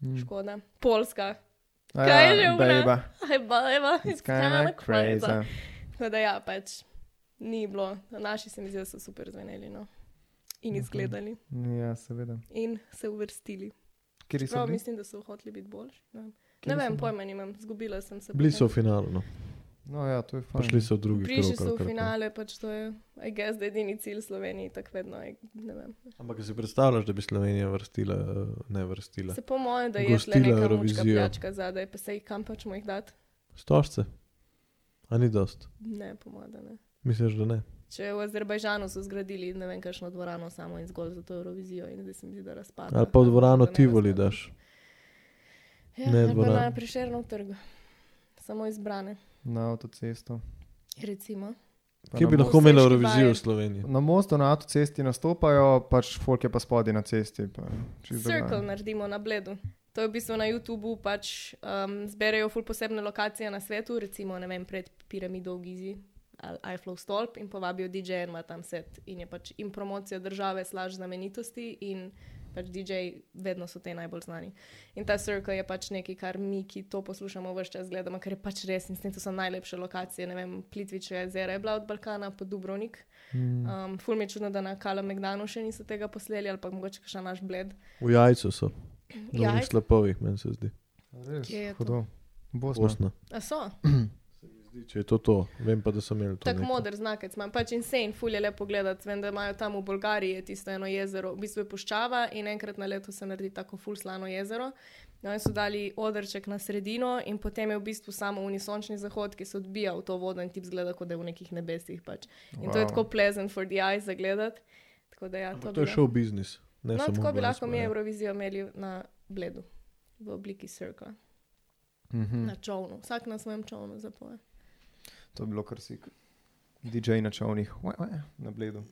mm. škoda. Polska,
A
kaj je že
ja,
umrla?
bejba.
Aj, bajva,
It's kinda crazy.
Tako da ja, pač ni bilo. Naši se mi zdi, da so super zveneli no. in izgledali
Ja, seveda.
in se uvrstili.
Kjer so
Prav
bili?
mislim, da so hoteli biti boljši. Ne vem,
Kje
ne
so
vem
bili?
pojma nimam, zgubila sem se.
Bili
potem.
so v finalu, no.
No, ja, to je fajn.
prišli so v drugi krog.
Prišli
ali
so v
karkoli.
finale, pač to je, I guess, da je edini cilj Slovenije, tako vedno. I, ne vem.
Ampak si predstavljaš, da bi Slovenija vrstila, eh, ne vrstila.
Se po mojem, da je tle
Gostila
neka mučka
Eurovizijo.
pljačka zadaj, pa se jih kam pač mu jih dati?
Stožce? A ni dost?
Ne, po mojem, da ne.
Misliš, da ne?
Če v Azerbajžanu so zgradili ne vem, kakšno dvorano samo in zgolj za to Eurovizijo in zdaj se mi zdi, da razpada.
Ali pa v
Ampak
dvorano
da ne
Tivoli
razpada.
daš?
Ja,
Ne,
ne, pa
dvorana.
na prišernem trgu, samo izbrane.
Na avtocesto.
Recimo.
Pa
Kje
na
bi
mo-
lahko imeli
Srečki
Eurovizijo
bajer.
v Sloveniji?
Na mostu na avtocesti nastopajo, pač folk je pa spodaj na cesti. Pa, čisto
Circle
drugače.
naredimo na bledu. To je v bistvu na YouTubu, pač um, zberejo ful posebne lokacije na svetu, recimo ne vem, pred piramido v Gizi ali iFlow stolp in povabijo DJ in ima tam set in je pač in promocija države slaž znamenitosti in pač DJ, vedno so te najbolj znani. In ta circle je pač nekaj, kar mi, ki to poslušamo, vse čas gledamo, ker je pač res in s tem so najlepše lokacije, ne vem, Plitviče jezera je bila od Balkana, pa Dubrovnik.
Mm.
Um, ful mi je čudno, da na Kala Megdanu še niso tega poslali ali pa mogoče še naš bled.
V jajcu so. Na
Jaj,
onih slapovih, meni se zdi.
Res,
Kje je to?
Hudo. Bosna.
Bosna.
a so.
Zdi, Če je to to, vem pa, da so imeli to.
Tako
neko.
moder znakec imam, pač insane, fulje lepo gledati. Vem, da imajo tam v Bolgariji je tisto eno jezero, v bistvu je puščava in enkrat na leto se naredi tako ful slano jezero. No, in so dali odrček na sredino, in potem je v bistvu samo unisončni zahod, ki se odbija v to vodo in ti zgleda, kot da je v nekih nebesih. Pač. In wow. to je
Wow.
tako pleasant for the eyes za gledati. Tako da ja,
Ampak
to,
To je
bi
šel biznis. Ne
lahko- No,
samo
tako bi
glasba,
lahko mi
ja.
Eurovizijo imeli na bledu, v obliki srka,
Mhm.
Hm.
na čovnu, vsak na svojem čovnu zapoje.
To je bilo kar sik. DJ na čovnih, Ue, ue, na bledu.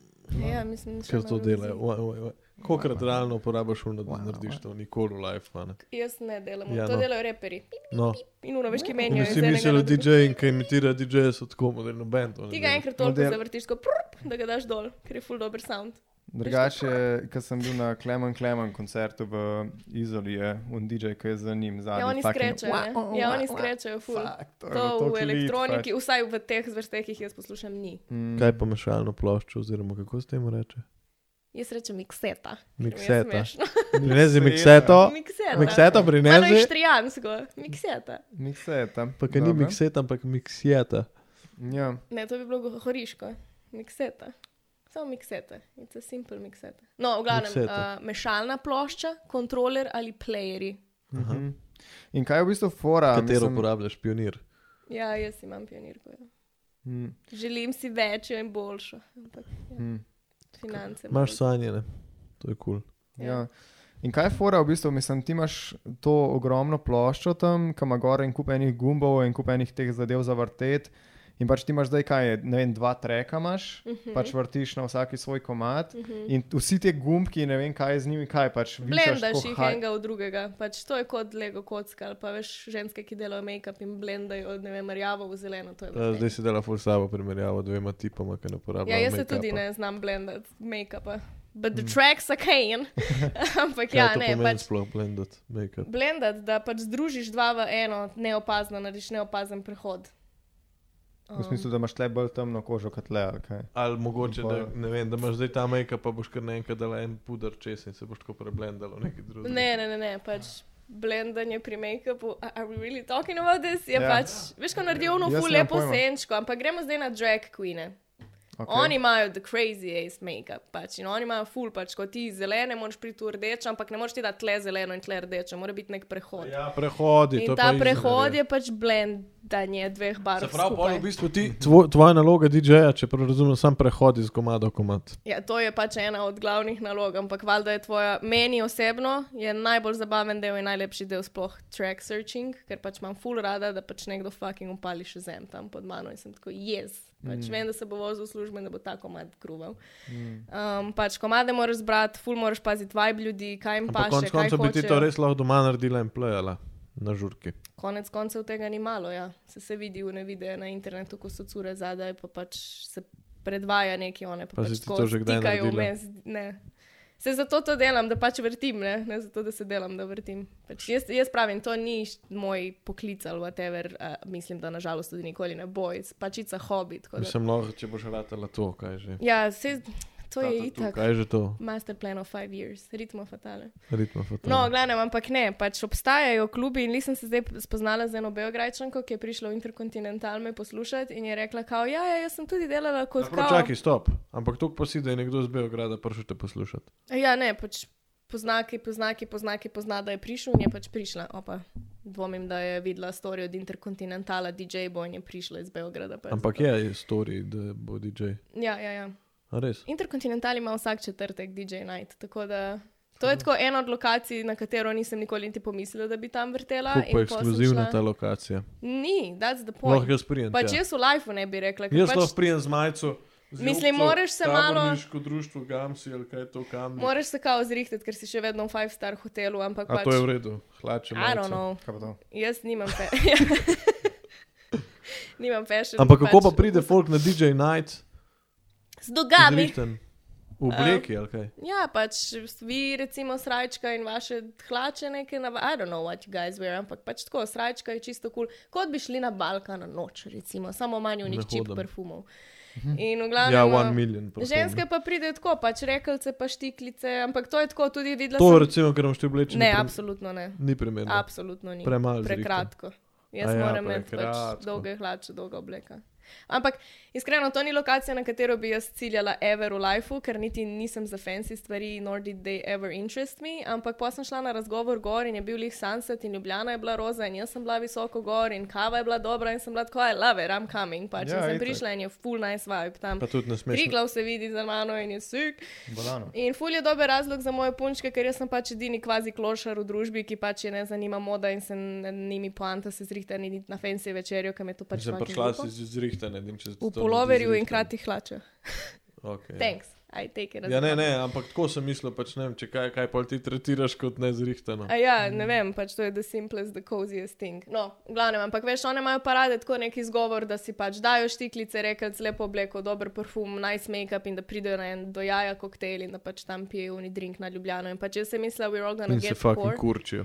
Ja, mislim, še
Hm. ker
na
to
Euroviziji.
delajo. Oj, oj, oj. Kolikrat realno uporabiš urno, da
Wow,
narediš
wow.
to, nikoli v life, man.
Jaz ne delam,
Ja,
ja, to
no.
no. delajo reperi.
No.
In ura veš, ki
In
menijo.
vsi mislijo, da DJ-ji, ki imitira DJ-je, so tako moderno band.
Ti ga enkrat
No,
toliko
del-
zavrtiš, ko prp, da ga daš dol, ker je full dober sound.
Drugače, ko sem bil na Klemen Klemen koncertu v Izoli, je on DJ, ki je za njim zadnji.
Ja, oni
fucking-
skrečajo. ne.
Wow,
Ja,
wow,
oni
wow.
skrečajo full.
Fuck, je bilo
To
toliko
v
elite,
elektroniki,
pač.
vsaj v teh zvrsteh, ki jih jaz poslušam, ni.
Mm.
Kaj pa mešalno ploščo, oziroma kako se temu reče?
Jaz rečem mikseta.
Mikseta.
Mikseta.
Prinezi mikseto, mikseto
Malo je
prinezi.
štrijansko, mikseta.
Mikseta.
Pa ki ni
Dobro.
mikseta, ampak miksijeta.
Ja.
Ne, to bi bilo gohoriško. Mikseta. Samo mikseta. It's a simple mikseta. No, v glavnem,
Mikseta.
uh, mešalna plošča, kontroler ali playeri.
Aha.
Mhm. In kaj je v bistvu fora?
Katero
mislim,
uporabljaš, pionir?
Ja, jaz imam pionirko. Ja.
Mm,
Želim si večjo in boljšo. Ampak
mm,
finance.
Imaš sanjene, to je kul. Cool.
ja. In kaj je fora v bistvu? Mislim, ti imaš to ogromno ploščo tam, kam ima gor en kup enih gumbov in kup enih teh zadev za vrtet. In pač ti imaš zdaj kaj, je, ne vem, dva treka imaš, uh
Mhm.
-huh. pač vrtiš na vsaki svoj komat. Uh -huh. In vsi ti gumbki, ne vem, kaj je z njimi, kaj pač vidiš.
Blendaš jih enega v drugega. Pač to je kot Lego kocka ali pa veš ženske, ki delajo make-up in blendajo od ne vem, rjavo v zeleno. to je
Eh,
vrtenje.
Zdaj si dela full sabo primerjavo dvema tipoma, ki ne
Ja,
uporabljajo.
jaz se tudi ne znam blendati make-upa. But the tracks are can. Ampak ja, ne, pač
sploh blendat, make-up.
blendati, da pač združiš dva v eno, neopazno, narediš neopazen prehod.
V smislu, da imaš tle bolj temno kožo kot le. ali Kaj.
Ali mogoče,
Pa-
da, ne vem, da imaš zdaj ta make-up, pa boš kar naenkrat dala en puder čez in se boš tako preblendala v neki drugi.
Ne, ne, ne, ne pač. Blendanje pri make-upu, a- are we really talking about this? Je
Ja.
ja. pač, veš, ko naredijo ono
Ja,
Jaz
ful
nimam
lepo
pojma.
senčko, ampak gremo zdaj na drag queene.
Okay.
Okay. Oni imajo the crazy ace make-up, pač in oni imajo ful, pač ko ti zelene, moraš priti v rdeče, ampak ne moreš ti dati tle zeleno in tle rdeče, mora biti nek prehod.
Ja, prehodi. to
In
je
ta
pa
prehod
izgled,
je pač blendanje dveh barv.
Se pravi, pol
skupaj.
v bistvu ti, tvoj, tvoja naloga DJ-ja, če prav razumem, sam prehodi iz komada v komad.
Ja, to je pač ena od glavnih nalog, ampak valjda je tvoja, meni osebno je najbolj zabaven del in najlepši del sploh track searching, ker pač imam full rada, da pač nekdo fucking upali še zem tam pod mano in sem tako jez. Yes. Pač mm. vem, da se bo vozil v službo in da bo ta komad kruval. Mm. Um, pač komade moraš zbrati, full moraš paziti vibe ljudi, kaj jim
Ampak
paše,
konec
kaj
koncev bi ti to
hočejo.
res lahko doma naredila in plejala na žurki.
Konec koncev tega ni malo, ja. se, se vidi v nevide na internetu, ko so cure zadaj, pa pač se predvaja neki one.
Pa
Pa, pač
si ti to že kdaj
stikajo
naredila?
vmes, ne. Se zato to delam, da pač vrtim, ne, ne zato, da se delam, da vrtim. Pač jaz, jaz pravim, to ni š- moj poklic ali whatever, a, mislim, da nažalost tudi nikoli ne bo, It's pačica hobi. tako da-
Mislim, lahko, če boš ratala to, kaj že.
Ja, se, to
Ta, ta,
je
tu,
itak.
Kaj je že to?
Master plan of five years, ritmo fatale.
Ritmo fotografa.
No, glavno, ampak ne, pač obstajajo klubi in nisem se zdaj spoznala z eno beograjčanko, ki je prišla v Interkontinental me poslušati in je rekla, kao, ja, ja, jaz sem tudi delala kot
Prav,
kao.
čakaj, stop. Ampak to posi, da je nekdo iz Beograda prišel te poslušati.
Ja, ne, pač poznaki, poznaki, poznaki, pozna, da je prišel in je pač prišla. Opa, dvomim, da je videla storijo od Interkontinentala, DJ bo in je prišla iz Beograda. pa je
Ampak
zato-
je story, da bo DJ.
Ja, ja, ja.
A res?
Interkontinental ima vsak četrtek DJ night, tako da... To je tako ena od lokacij, na katero nisem nikoli niti pomislila, da bi tam vrtela.
Kako
Ja, in
pa
pol
je
sem
ekskluzivna
šla-
ta lokacija?
Ni, that's the point.
Lahko jaz prijem.
Pač
tja.
jaz v lifeu ne bi rekla, ker
Ja. jaz
pač
lahko prijem z majico. z
Mislim,
ljubco,
moraš se malo-
taborniško društvo Gamsi ali kaj je to kam.
moraš se kao zrihtati, ker si še vedno v five star hotelu, ampak
A
pač...
to je v redu, hlače.
I
majice.
don't know,
Kaj pa to?
jaz nimam pe... nimam fashion.
Ampak kako
pač
pa pride folk na DJ Night,
Z nogami.
zrihten, v obleki ali kaj?
Ja, pač vi recimo srajčka in vaše hlače neke na... I don't know what you guys wear, ampak pač tako, srajčka je čisto kul, cool, kot bi šli na Balkan na noč, recimo, samo manj
Ne
unih čip
hodim.
perfumov. In v glavnem...
Ja,
uh,
one million. prosim.
Ženske pa pridejo tako, pač rekelce, pa štiklice, ampak to je tako tudi videla.
To
sem-
recimo, ker imaš ti oblečen.
Ne, absolutno ne.
Ni primerno.
Absolutno ni.
Premalo zrihto.
Prekratko. Jaz
A ja,
ja, moram imeti
prekratko.
pač dolge hlače, dolga obleka. Ampak iskreno, to ni lokacija, na katero bi jaz ciljala ever v lifeu, ker niti nisem za fancy stvari, nor did they ever interest me. Ampak pa sem šla na razgovor gor in je bil lih sunset in Ljubljana je bila roza in jaz sem bila visoko gor in kava je bila dobra in sem bila tako, I love it, I'm coming. Pač
Ja,
ja, sem
itak.
prišla in je full nice vibe tam.
Pa tudi ne smeš.
Kriglav se vidi za mano in je sik.
Bolano.
In ful je dober razlog za moje punčke, ker jaz sem pač edini kvazi klošar v družbi, ki pač je ne zanima moda in se nad njimi poanta se zrihta ni na fensi večerjo, kam je to pač
Sem
fucking
prišla
glupo.
si zrihtane, dim če
v poloverju in kratih hlačah.
Okay.
Thanks, I take it as
Ja,
a
ne,
compliment.
ne, ampak tako sem mislil, pač ne vem, če kaj, kaj pol ti tretiraš kot nezrihtano.
A ja, ne vem, pač to je the simplest, the coziest thing. No, v glavnem, ampak veš, one imajo parade tako neki izgovor, da si pač dajo štiklice, rekelc, lepo obleko, dober parfum, nice make-up in da pridejo na en dojaja koktejl in da pač tam pijejo oni drink na Ljubljano. In pač jaz sem mislila, we're all gonna
In se
get
fucking
poor.
kurčijo.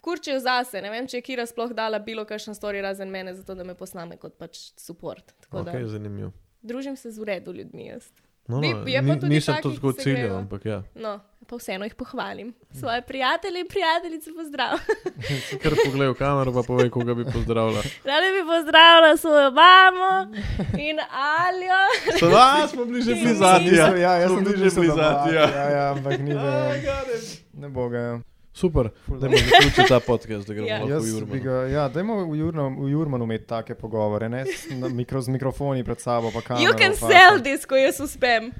Kurčijo zase, ne vem, če je Kira sploh dala bilo kakšen story razen mene, zato da me posname kot pač support. Tako
Ok,
da okay.
zanimivo.
družim se z uredu ljudmi jaz.
No,
Bi-
no,
je pa
ni,
tudi
nisem to
takih, ki
tako
se
ciljal,
grejo.
ampak ja.
No, pa vseeno jih pohvalim. Svoje prijatelje in prijateljice pozdravljam.
Ker poglej v kamero, pa povej, koga bi pozdravila.
Rada bi pozdravila svojo mamo in Aljo.
Sva smo bili že
bili
bili
zadnji,
zadnji.
Mislim, ja, jaz sem
bili
tudi
že
že
bili zadnji.
zadnji.
Ja.
Ja, ja, ampak ni da. Ne bo ga. ja.
Super,
Ful
da
dobro.
bomo zaključili ta podcast, da gremo
Ja.
ja. lahko
Jaz
v
bi
Jurman.
ga, ja, dajmo v Jurno- v Jurmanu imeti take pogovore, ne s, na, mikro, z mikrofoni pred sabo. pa
You
kamero,
can
pa-
sell this, ko jaz uspem.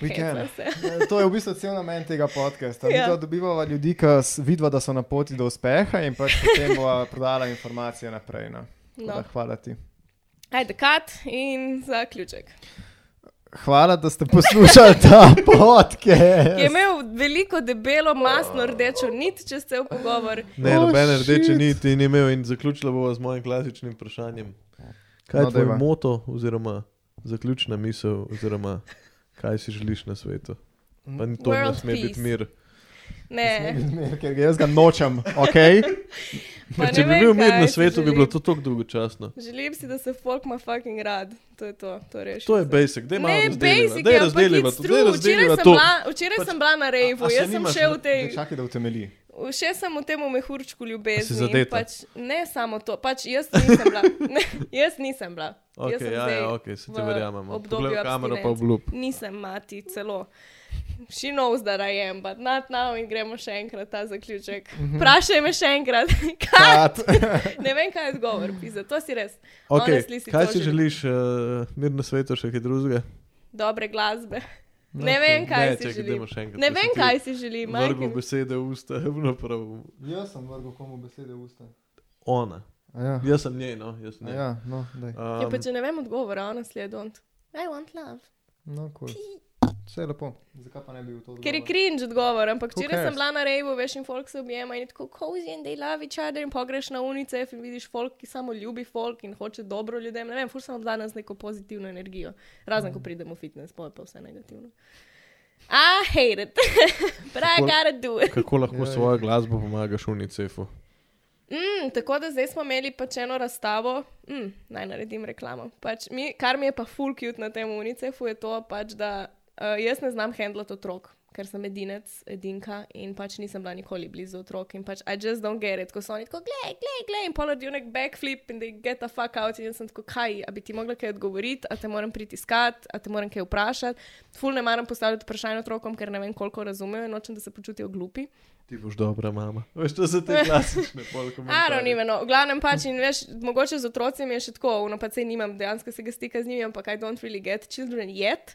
We can.
Hecam se.
Ja, To je v bistvu cel namen tega podcasta. Mi
Ja.
yeah. dobivamo ljudi, ki s- vidiva, da so na poti do uspeha in pač potem bova prodala informacije naprej. No. Tako
No.
Da, hvala ti.
Ajde, kat in zaključek.
Hvala, da ste poslušali ta
Je
podcast.
imel veliko debelo, masno rdečo nit, če ste v pogovor.
Ne,
Oh,
nobene rdeče
shit.
niti ni imel in zaključila bova z mojim klasičnim vprašanjem. Kaj je
No,
tvoj
dajva.
moto oziroma zaključna misel oziroma kaj si želiš na svetu? Pa ni to ne
World
sme biti
peace.
mir.
Ne,
Ker ga jaz ga nočem, ok?
pa ne
Če bi
vem,
bil mir
kaj
na
si
svetu, bi
želim.
bilo to tako dolgočasno.
Želim si, da se folk ima fucking rad. To je to, to reši.
To je basic, daj malo
Ne,
razdeliva,
basic,
daj
je,
razdeliva,
ampak
to,
it's
daj
true.
razdeliva
Včeraj, sem
to. Pač,
bila, včeraj sem bila na
a
revu,
se
jaz sem
nimaš
še
na-
v tej.
Čakaj, da utemeli.
Še sem v tem mehurčku
Si
ljubezni.
zadeta?
Pač, ne samo to, pač jaz nisem bila. Ne, jaz nisem bila. jaz
Ok,
sem
ja,
zdaj
ja, ok, se ti
v
verjamem.
obdobju
Poglej v kamero pa
abstinence.
obljub.
Nisem mati celo. She knows that I am, but not now in gremo še enkrat ta zaključek.
Mhm.
Vprašaj me še enkrat, kaj? Ne vem, kaj je odgovor, pisa, to si res.
Okay,
Honestly si
kaj
to
si
želim.
želiš, uh, mir na svetu, še kaj drugega?
Dobre glasbe. Ne vem, kaj si želim. Ne vem, kaj si želim.
Vrgo
Majken.
besede v usta, vnaprav
Jaz sem vrgel komu besede v usta.
ona.
Ja,
Jaz sem njej, no, jaz
A
ne.
ja, no, daj.
Ja, pa
Um,
če ne vem odgovora, ona sledont.
I want love.
No, cool. Vse je lepo. Zakaj pa ne bi v to?
Ker je cringe odgovor, ampak
Who
včeraj sem
cares?
bila na reju, veš, in folk se objema in je tako cozy and they love each other in pogreš na UNICEF in vidiš folk, ki samo ljubi folk in hoče dobro ljudem. Ne vem, fur sem obdana z neko pozitivno energijo. Razen, ko pridem v fitness, pa je pa vse negativno. I hate it, but I
Kako-
gotta do it.
kako lahko
Ja, ja.
svojo glasbo pomagaš UNICEF-u?
Mm, tako da zdaj smo imeli pač eno razstavo, mm, naj naredim reklamo. Pač mi, kar mi je pa full cute na tem UNICEF-u je to, pač, da uh, jaz ne znam handlati otrok, ker sem edinec, edinka in pač nisem bila nikoli blizu otrok in pač I just don't get it, ko so oni tako, glej, glej, glej in ponadijo nek backflip in they get the fuck out in jaz sem tako, kaj, a bi ti mogla kaj odgovoriti, a te moram pritiskati, a te moram kaj vprašati. Full ne maram postavljati vprašanje otrokom, ker ne vem, koliko razumejo in nočem, da se počutijo glupi.
Ti boš dobra mama. Veš, to so te klasične polke.
Anonimno, v glavnem pač in veš, mogoče z otroci mi je še tako, no pač saj nimam dejansko se ga stika z njimi, ampak I don't really get children yet.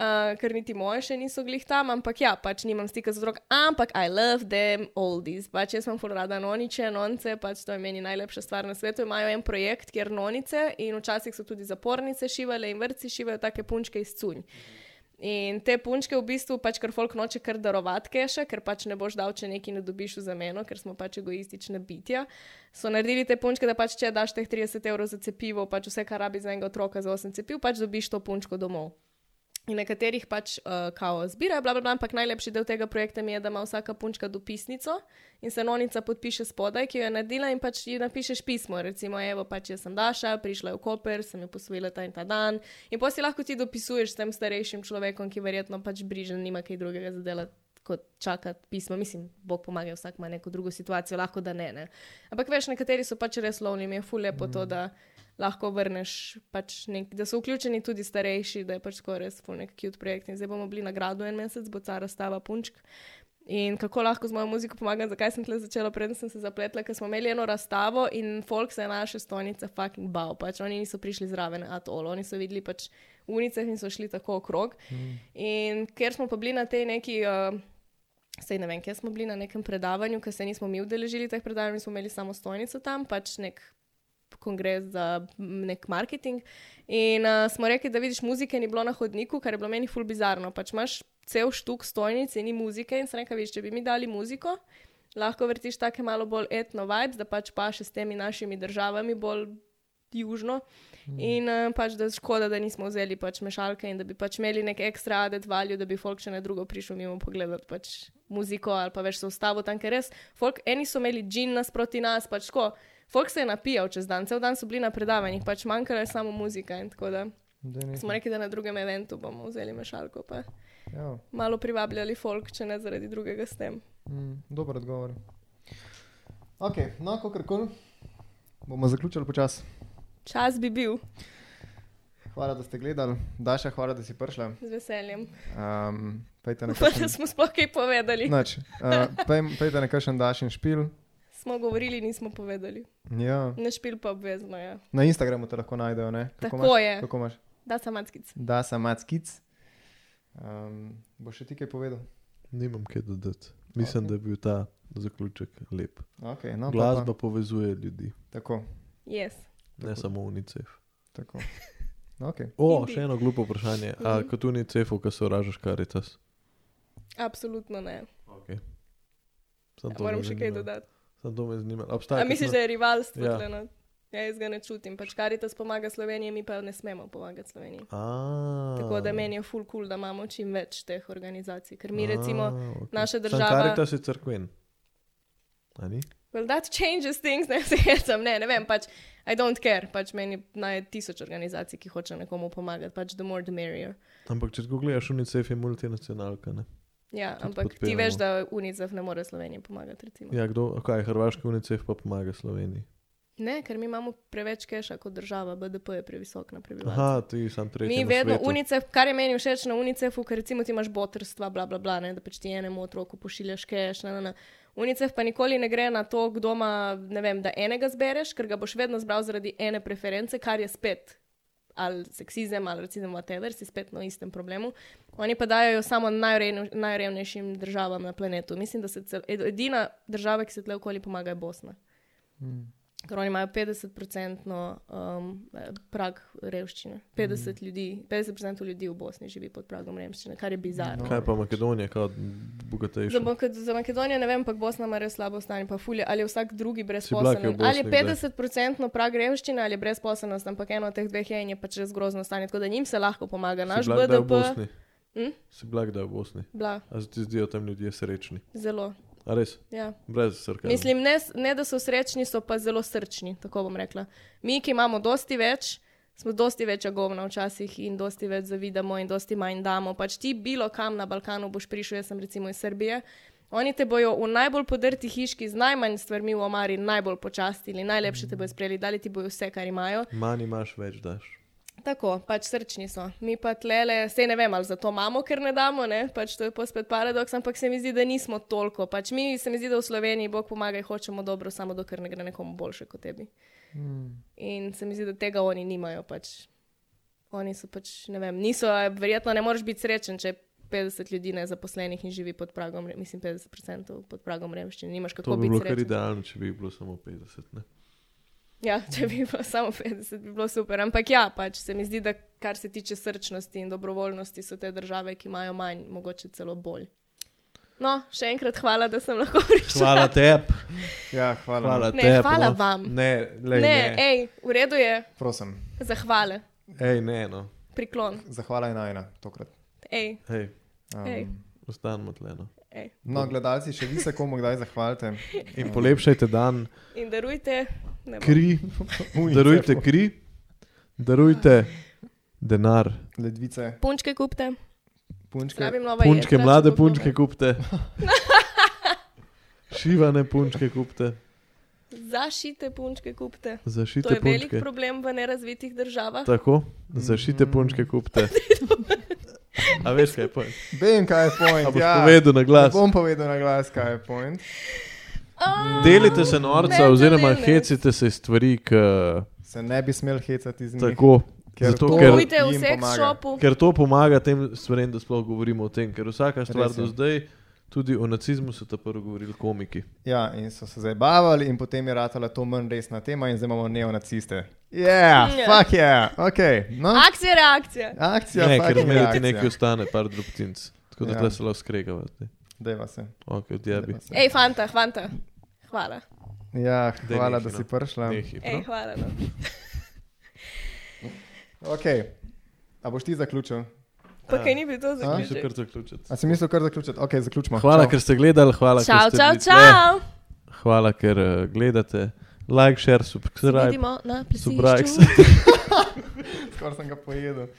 Uh, ker niti moje še niso glih tam, ampak ja, pač nimam stika z otroki, ampak I love them oldies. Pač jaz sem ful rada noniče, nonce, pač to je meni najlepša stvar na svetu. Imajo en projekt, kjer nonice in včasih so tudi zapornice šivale in vrci šivajo take punčke iz cunj. In te punčke v bistvu pač kar folk noče kar darovati keša, ker pač ne boš dal, če nekaj ne dobiš v zameno, ker smo pač egoistična bitja. So naredili te punčke, da pač če daš teh 30 evrov za cepivo, pač vse, kar rabi za enega otroka za 8 cepiv, pač dobiš to punčko domov. In nekaterih pač uh, kao zbirajo, bla, bla, bla, ampak najlepši del tega projekta mi je, da ima vsaka punčka dopisnico in se nonica podpiše spodaj, ki jo je naredila in pač ji napišeš pismo. Recimo, evo, pač jaz sem Daša, prišla je v Koper, sem jo posvojila ta in ta dan. In pa si lahko ti dopisuješ s tem starejšim človekom, ki verjetno pač brižen, nima kaj drugega za delati. Kot čakati pismo, mislim, Bog pomaga, vsak ima neko drugo situacijo, lahko da ne. ne. Ampak veš, nekateri so pač res lovni, mi je fulje po to, da lahko vrneš, pač nek, da so vključeni tudi starejši, da je pač tako res ful nek cute projekt. In zdaj bomo bili na gradu en mesec, bo ta razstava punčk. In kako lahko z mojo muziko pomagam, zakaj sem tle začela, preden sem se zapletla, ker smo imeli eno razstavo in folk se je naše stolnice fucking bal, pač oni niso prišli zraven at all, oni so videli pač unice in so šli tako okrog. Mm. In ker smo pa bili na tej neki uh, Sej ne vem, kje smo bili na nekem predavanju, ker se nismo mi udeležili teh predavanj, mi smo imeli samo stojnico tam, pač nek kongres za m, nek marketing. In uh, smo rekli, da vidiš, muzike ni bilo na hodniku, kar je bilo meni ful bizarno. Pač imaš cel štuk stojnic in ni muzike in sem rekel, vidiš, če bi mi dali muziko, lahko vrtiš take malo bolj etno vibes, da pač pa še s temi našimi državami bolj južno. In uh, pač da je škoda, da nismo vzeli pač mešalke in da bi pač imeli nek ekstra adet valju, da bi folk še ne drugo prišel mimo pogledati pač muziko ali pa več se ustavo tam, ker res folk, eni so imeli džin nasproti nas, pač ko. Folk se je napijal čez dan, cel dan so bili na predavanjih, pač manjkala je samo muzika in tako da.
Da ne-
Smo rekli, da na drugem eventu bomo vzeli mešalko, pa
Ja,
malo privabljali folk, če ne zaradi drugega s tem.
mm, dober odgovor. Ok, no, kakorkoli. Bomo zaključili počasi.
Čas bi bil,
Hvala, da ste gledali. Daša, hvala, da si prišla.
z veseljem.
Um, Pejte na
Upam, da
kakšen,
smo sploh kaj povedali. No.
Nič. uh, pej- pejte na kakšen dašin špil.
Smo govorili, nismo povedali.
Ja.
Na špil pa obvezno je. Ja.
Na Instagramu te lahko najdejo, ne? Kako
Tako
imaš?
je.
Kako imaš?
Da, samatskic.
Da, samac kic. Um, bo še ti kaj povedal?
Nimam kaj dodati. Mislim,
Ok.
okay. da je bil ta zaključek lep.
Okay, no, pol
Glasba
Pa,
povezuje ljudi,
tako,
Yes.
ne samo UNICEF.
tako. No, Okay.
O,
Indi.
še eno glupo vprašanje.
Mhm.
A kot UNICEF-u, kaj se oražaš, karitas?
Absolutno ne.
Okay. Sam
Ja, moram še kaj dodati.
Sam to me zanima.
A
Obstaja.
misliš, da je rivalstvo?
Ja.
Ja. ja, jaz ga ne čutim. Pač Karitas pomaga Sloveniji, mi pa ne smemo pomagati Sloveniji.
A,
Tako da meni je full cool, da imamo čim več teh organizacij. Ker
Ah.
mi recimo,
okay.
naša
Sam
država-
karitas je crkven. A ni?
well, that changes things, ne se hecam, ne, ne vem, pač I don't care, pač meni naj tisoč organizacij, ki hoče nekomu pomagati, pač the more the merrier.
Ampak če tako gledaš, UNICEF je multinacionalka. Ne?
Ja,
Tudi
ampak ti veš,
podpiramo.
da UNICEF ne more Sloveniji pomagati, recimo.
Ja, kdo, kaj, Hrvaški UNICEF pa pomaga Sloveniji.
Ne, ker mi imamo preveč keša kot država, BDP je previsok na prebivalce.
Aha, ti sam tretji.
Mi
na
vedno,
svetu.
UNICEF, kar je meni všeč na UNICEF-u, ker recimo ti imaš botrstva, bla, bla, bla, ne, da pač ti enemu otroku pošiljaš keš. Na, na, na. UNICEF pa nikoli ne gre na to, kdo ima, ne vem, da enega zbereš, ker ga boš vedno zbral zaradi ene preference, kar je spet ali seksizem ali recimo whatever, si spet na istem problemu. Oni pa dajo samo najrevne, najrevnejšim državam na planetu. Mislim, da se cel, ed- edina država, ki se tle okoli pomaga, je Bosna.
Mm.
Ker oni imajo 50-odstotno um, eh, prag revščine.
Mhm.
50, mm. ljudi, 50% ljudi v Bosni živi pod pragom revščine, kar je bizarno.
Kaj pa Makedonija, kot bogatejša?
Za, Maked- za Makedonijo ne vem, ampak Bosna ima res slabo stanje, pa fulje ali je vsak drugi
kje v
brezposeln.
Bosni
Ali je
kdaj?
50-odstotno prag revščine ali je brezposelnost, ampak eno od teh dveh je in je pač res grozno stanje, tako da njim se lahko pomaga. Naš
Si bila kdaj v
BDP
Bosni?
Hm?
Si bila kdaj v Bosni?
bla,
A se ti zdijo tam ljudje srečni?
zelo.
A res?
Ja.
Brez srca.
Mislim, ne, s- ne da so srečni, so pa zelo srčni, tako bom rekla. Mi, ki imamo dosti več, smo dosti več agovna včasih in dosti več zavidamo in dosti manj damo. Pač ti bilo kam na Balkanu boš prišel, jaz sem recimo iz Srbije. Oni te bojo v najbolj podrti hiški z najmanj stvarmi v omari najbolj počastili, najlepše te bojo sprejeli, dali ti bojo vse, kar imajo.
Manj imaš, več daš.
Tako, pač srčni so. Mi pa tlele, se ne vem, ali zato imamo, ker ne damo, ne? pač to je pa spet paradoks, ampak se mi zdi, da nismo toliko. Pač mi se mi zdi, da v Sloveniji Bog pomaga in hočemo dobro, samo dokler ne gre nekomu boljše kot tebi.
Mm.
In se mi zdi, da tega oni nimajo. Pač. Oni so pač, ne vem, niso, verjetno ne moreš biti srečen, če 50 ljudi ne zaposlenih in živi pod pragom, re- mislim 50% pod pragom revščine. Nimaš
To
kako
bi bilo
biti
kar
srečen.
idealno, če bi jih bilo samo 50. Ne?
Ja, če bi bilo samo 50, bi bilo super. Ampak ja, pač se mi zdi, da kar se tiče srčnosti in dobrovoljnosti, so te države, ki imajo manj, mogoče celo bolj. No, še enkrat hvala, da sem lahko prišla.
Hvala tebi.
Ja, hvala.
Hvala,
Ne,
tebi,
hvala
no.
vam.
Ne, lej,
Ne,
ne.
ne, ej, v redu je,
Prosim,
zahvale,
Ej, ne, no.
priklon.
zahvala je najna tokrat.
Ej,
Ej,
Ej.
Um,
ostanemo tleno.
ej.
no, gledalci, še vi se komu kdaj zahvalite.
In polepšajte dan,
In darujte, ne bom.
kri, darujte kri, darujte denar.
Ledvice,
punčke kupte,
punčke.
rabim nova
Punčke,
jedra,
mlade
če bo
punčke
kdo-
kupte. Šivane punčke kupte,
Zašite punčke kupte. To
zašite
je velik
punčke.
problem v nerazvitih državah.
Tako, zašite punčke kupte. A veš kaj, poj.
Vem, kaj je
A
point.
boš
Ja.
povedal na
Ne
glas.
bom povedal na glas, kaj je point.
A,
Delite se norca,
Ne, ne,
oziroma
ne, ne.
hecite se iz stvari, ki
Se ne bi smel hecati z njim.
tako. Zato,
to
ker,
Kupujte v
jim
seks
pomaga.
šopu.
ker to pomaga tem stvarem, da sploh govorimo o tem. Ker vsaka stvar
Res je.
do zdaj Tudi o nacizmu so ta prvo govorili komiki.
Ja, in so se zabavali, in potem je ratala to manj resna tema, in zdaj imamo neonaciste. Ja, yeah,
Ja.
fuck je, yeah. ok. No,
Akcija, reakcija.
akcija,
Ne, ker
fucking
zmeraj ti
reakcija.
nekaj ostane, par drobtinc. Tako da
Ja.
ja. tle se lahko skregavate.
Dajva se.
Ok, odjebi.
dajva se.
Ej, fanta, fanta. Hvala.
Ja,
Daj
hvala,
nehaj,
da
no.
si prišla.
Nehaj.
Ej, hvala. No.
Ok, a boš ti zaključil?
Pa kaj ni bilo
A?
Mislim,
zaključek.
kar zaključiti.
A si mislil kar zaključiti? Ok, zaključimo.
Hvala,
Čau.
ker ste gledali, hvala, ker
Čau,
ste
čau,
bili tle.
čau.
Hvala, ker eh, gledate. Like, share, subscribe.
Nou, Vidimo na plesišču.
Subrajks.
Skoraj sem ga pojedel.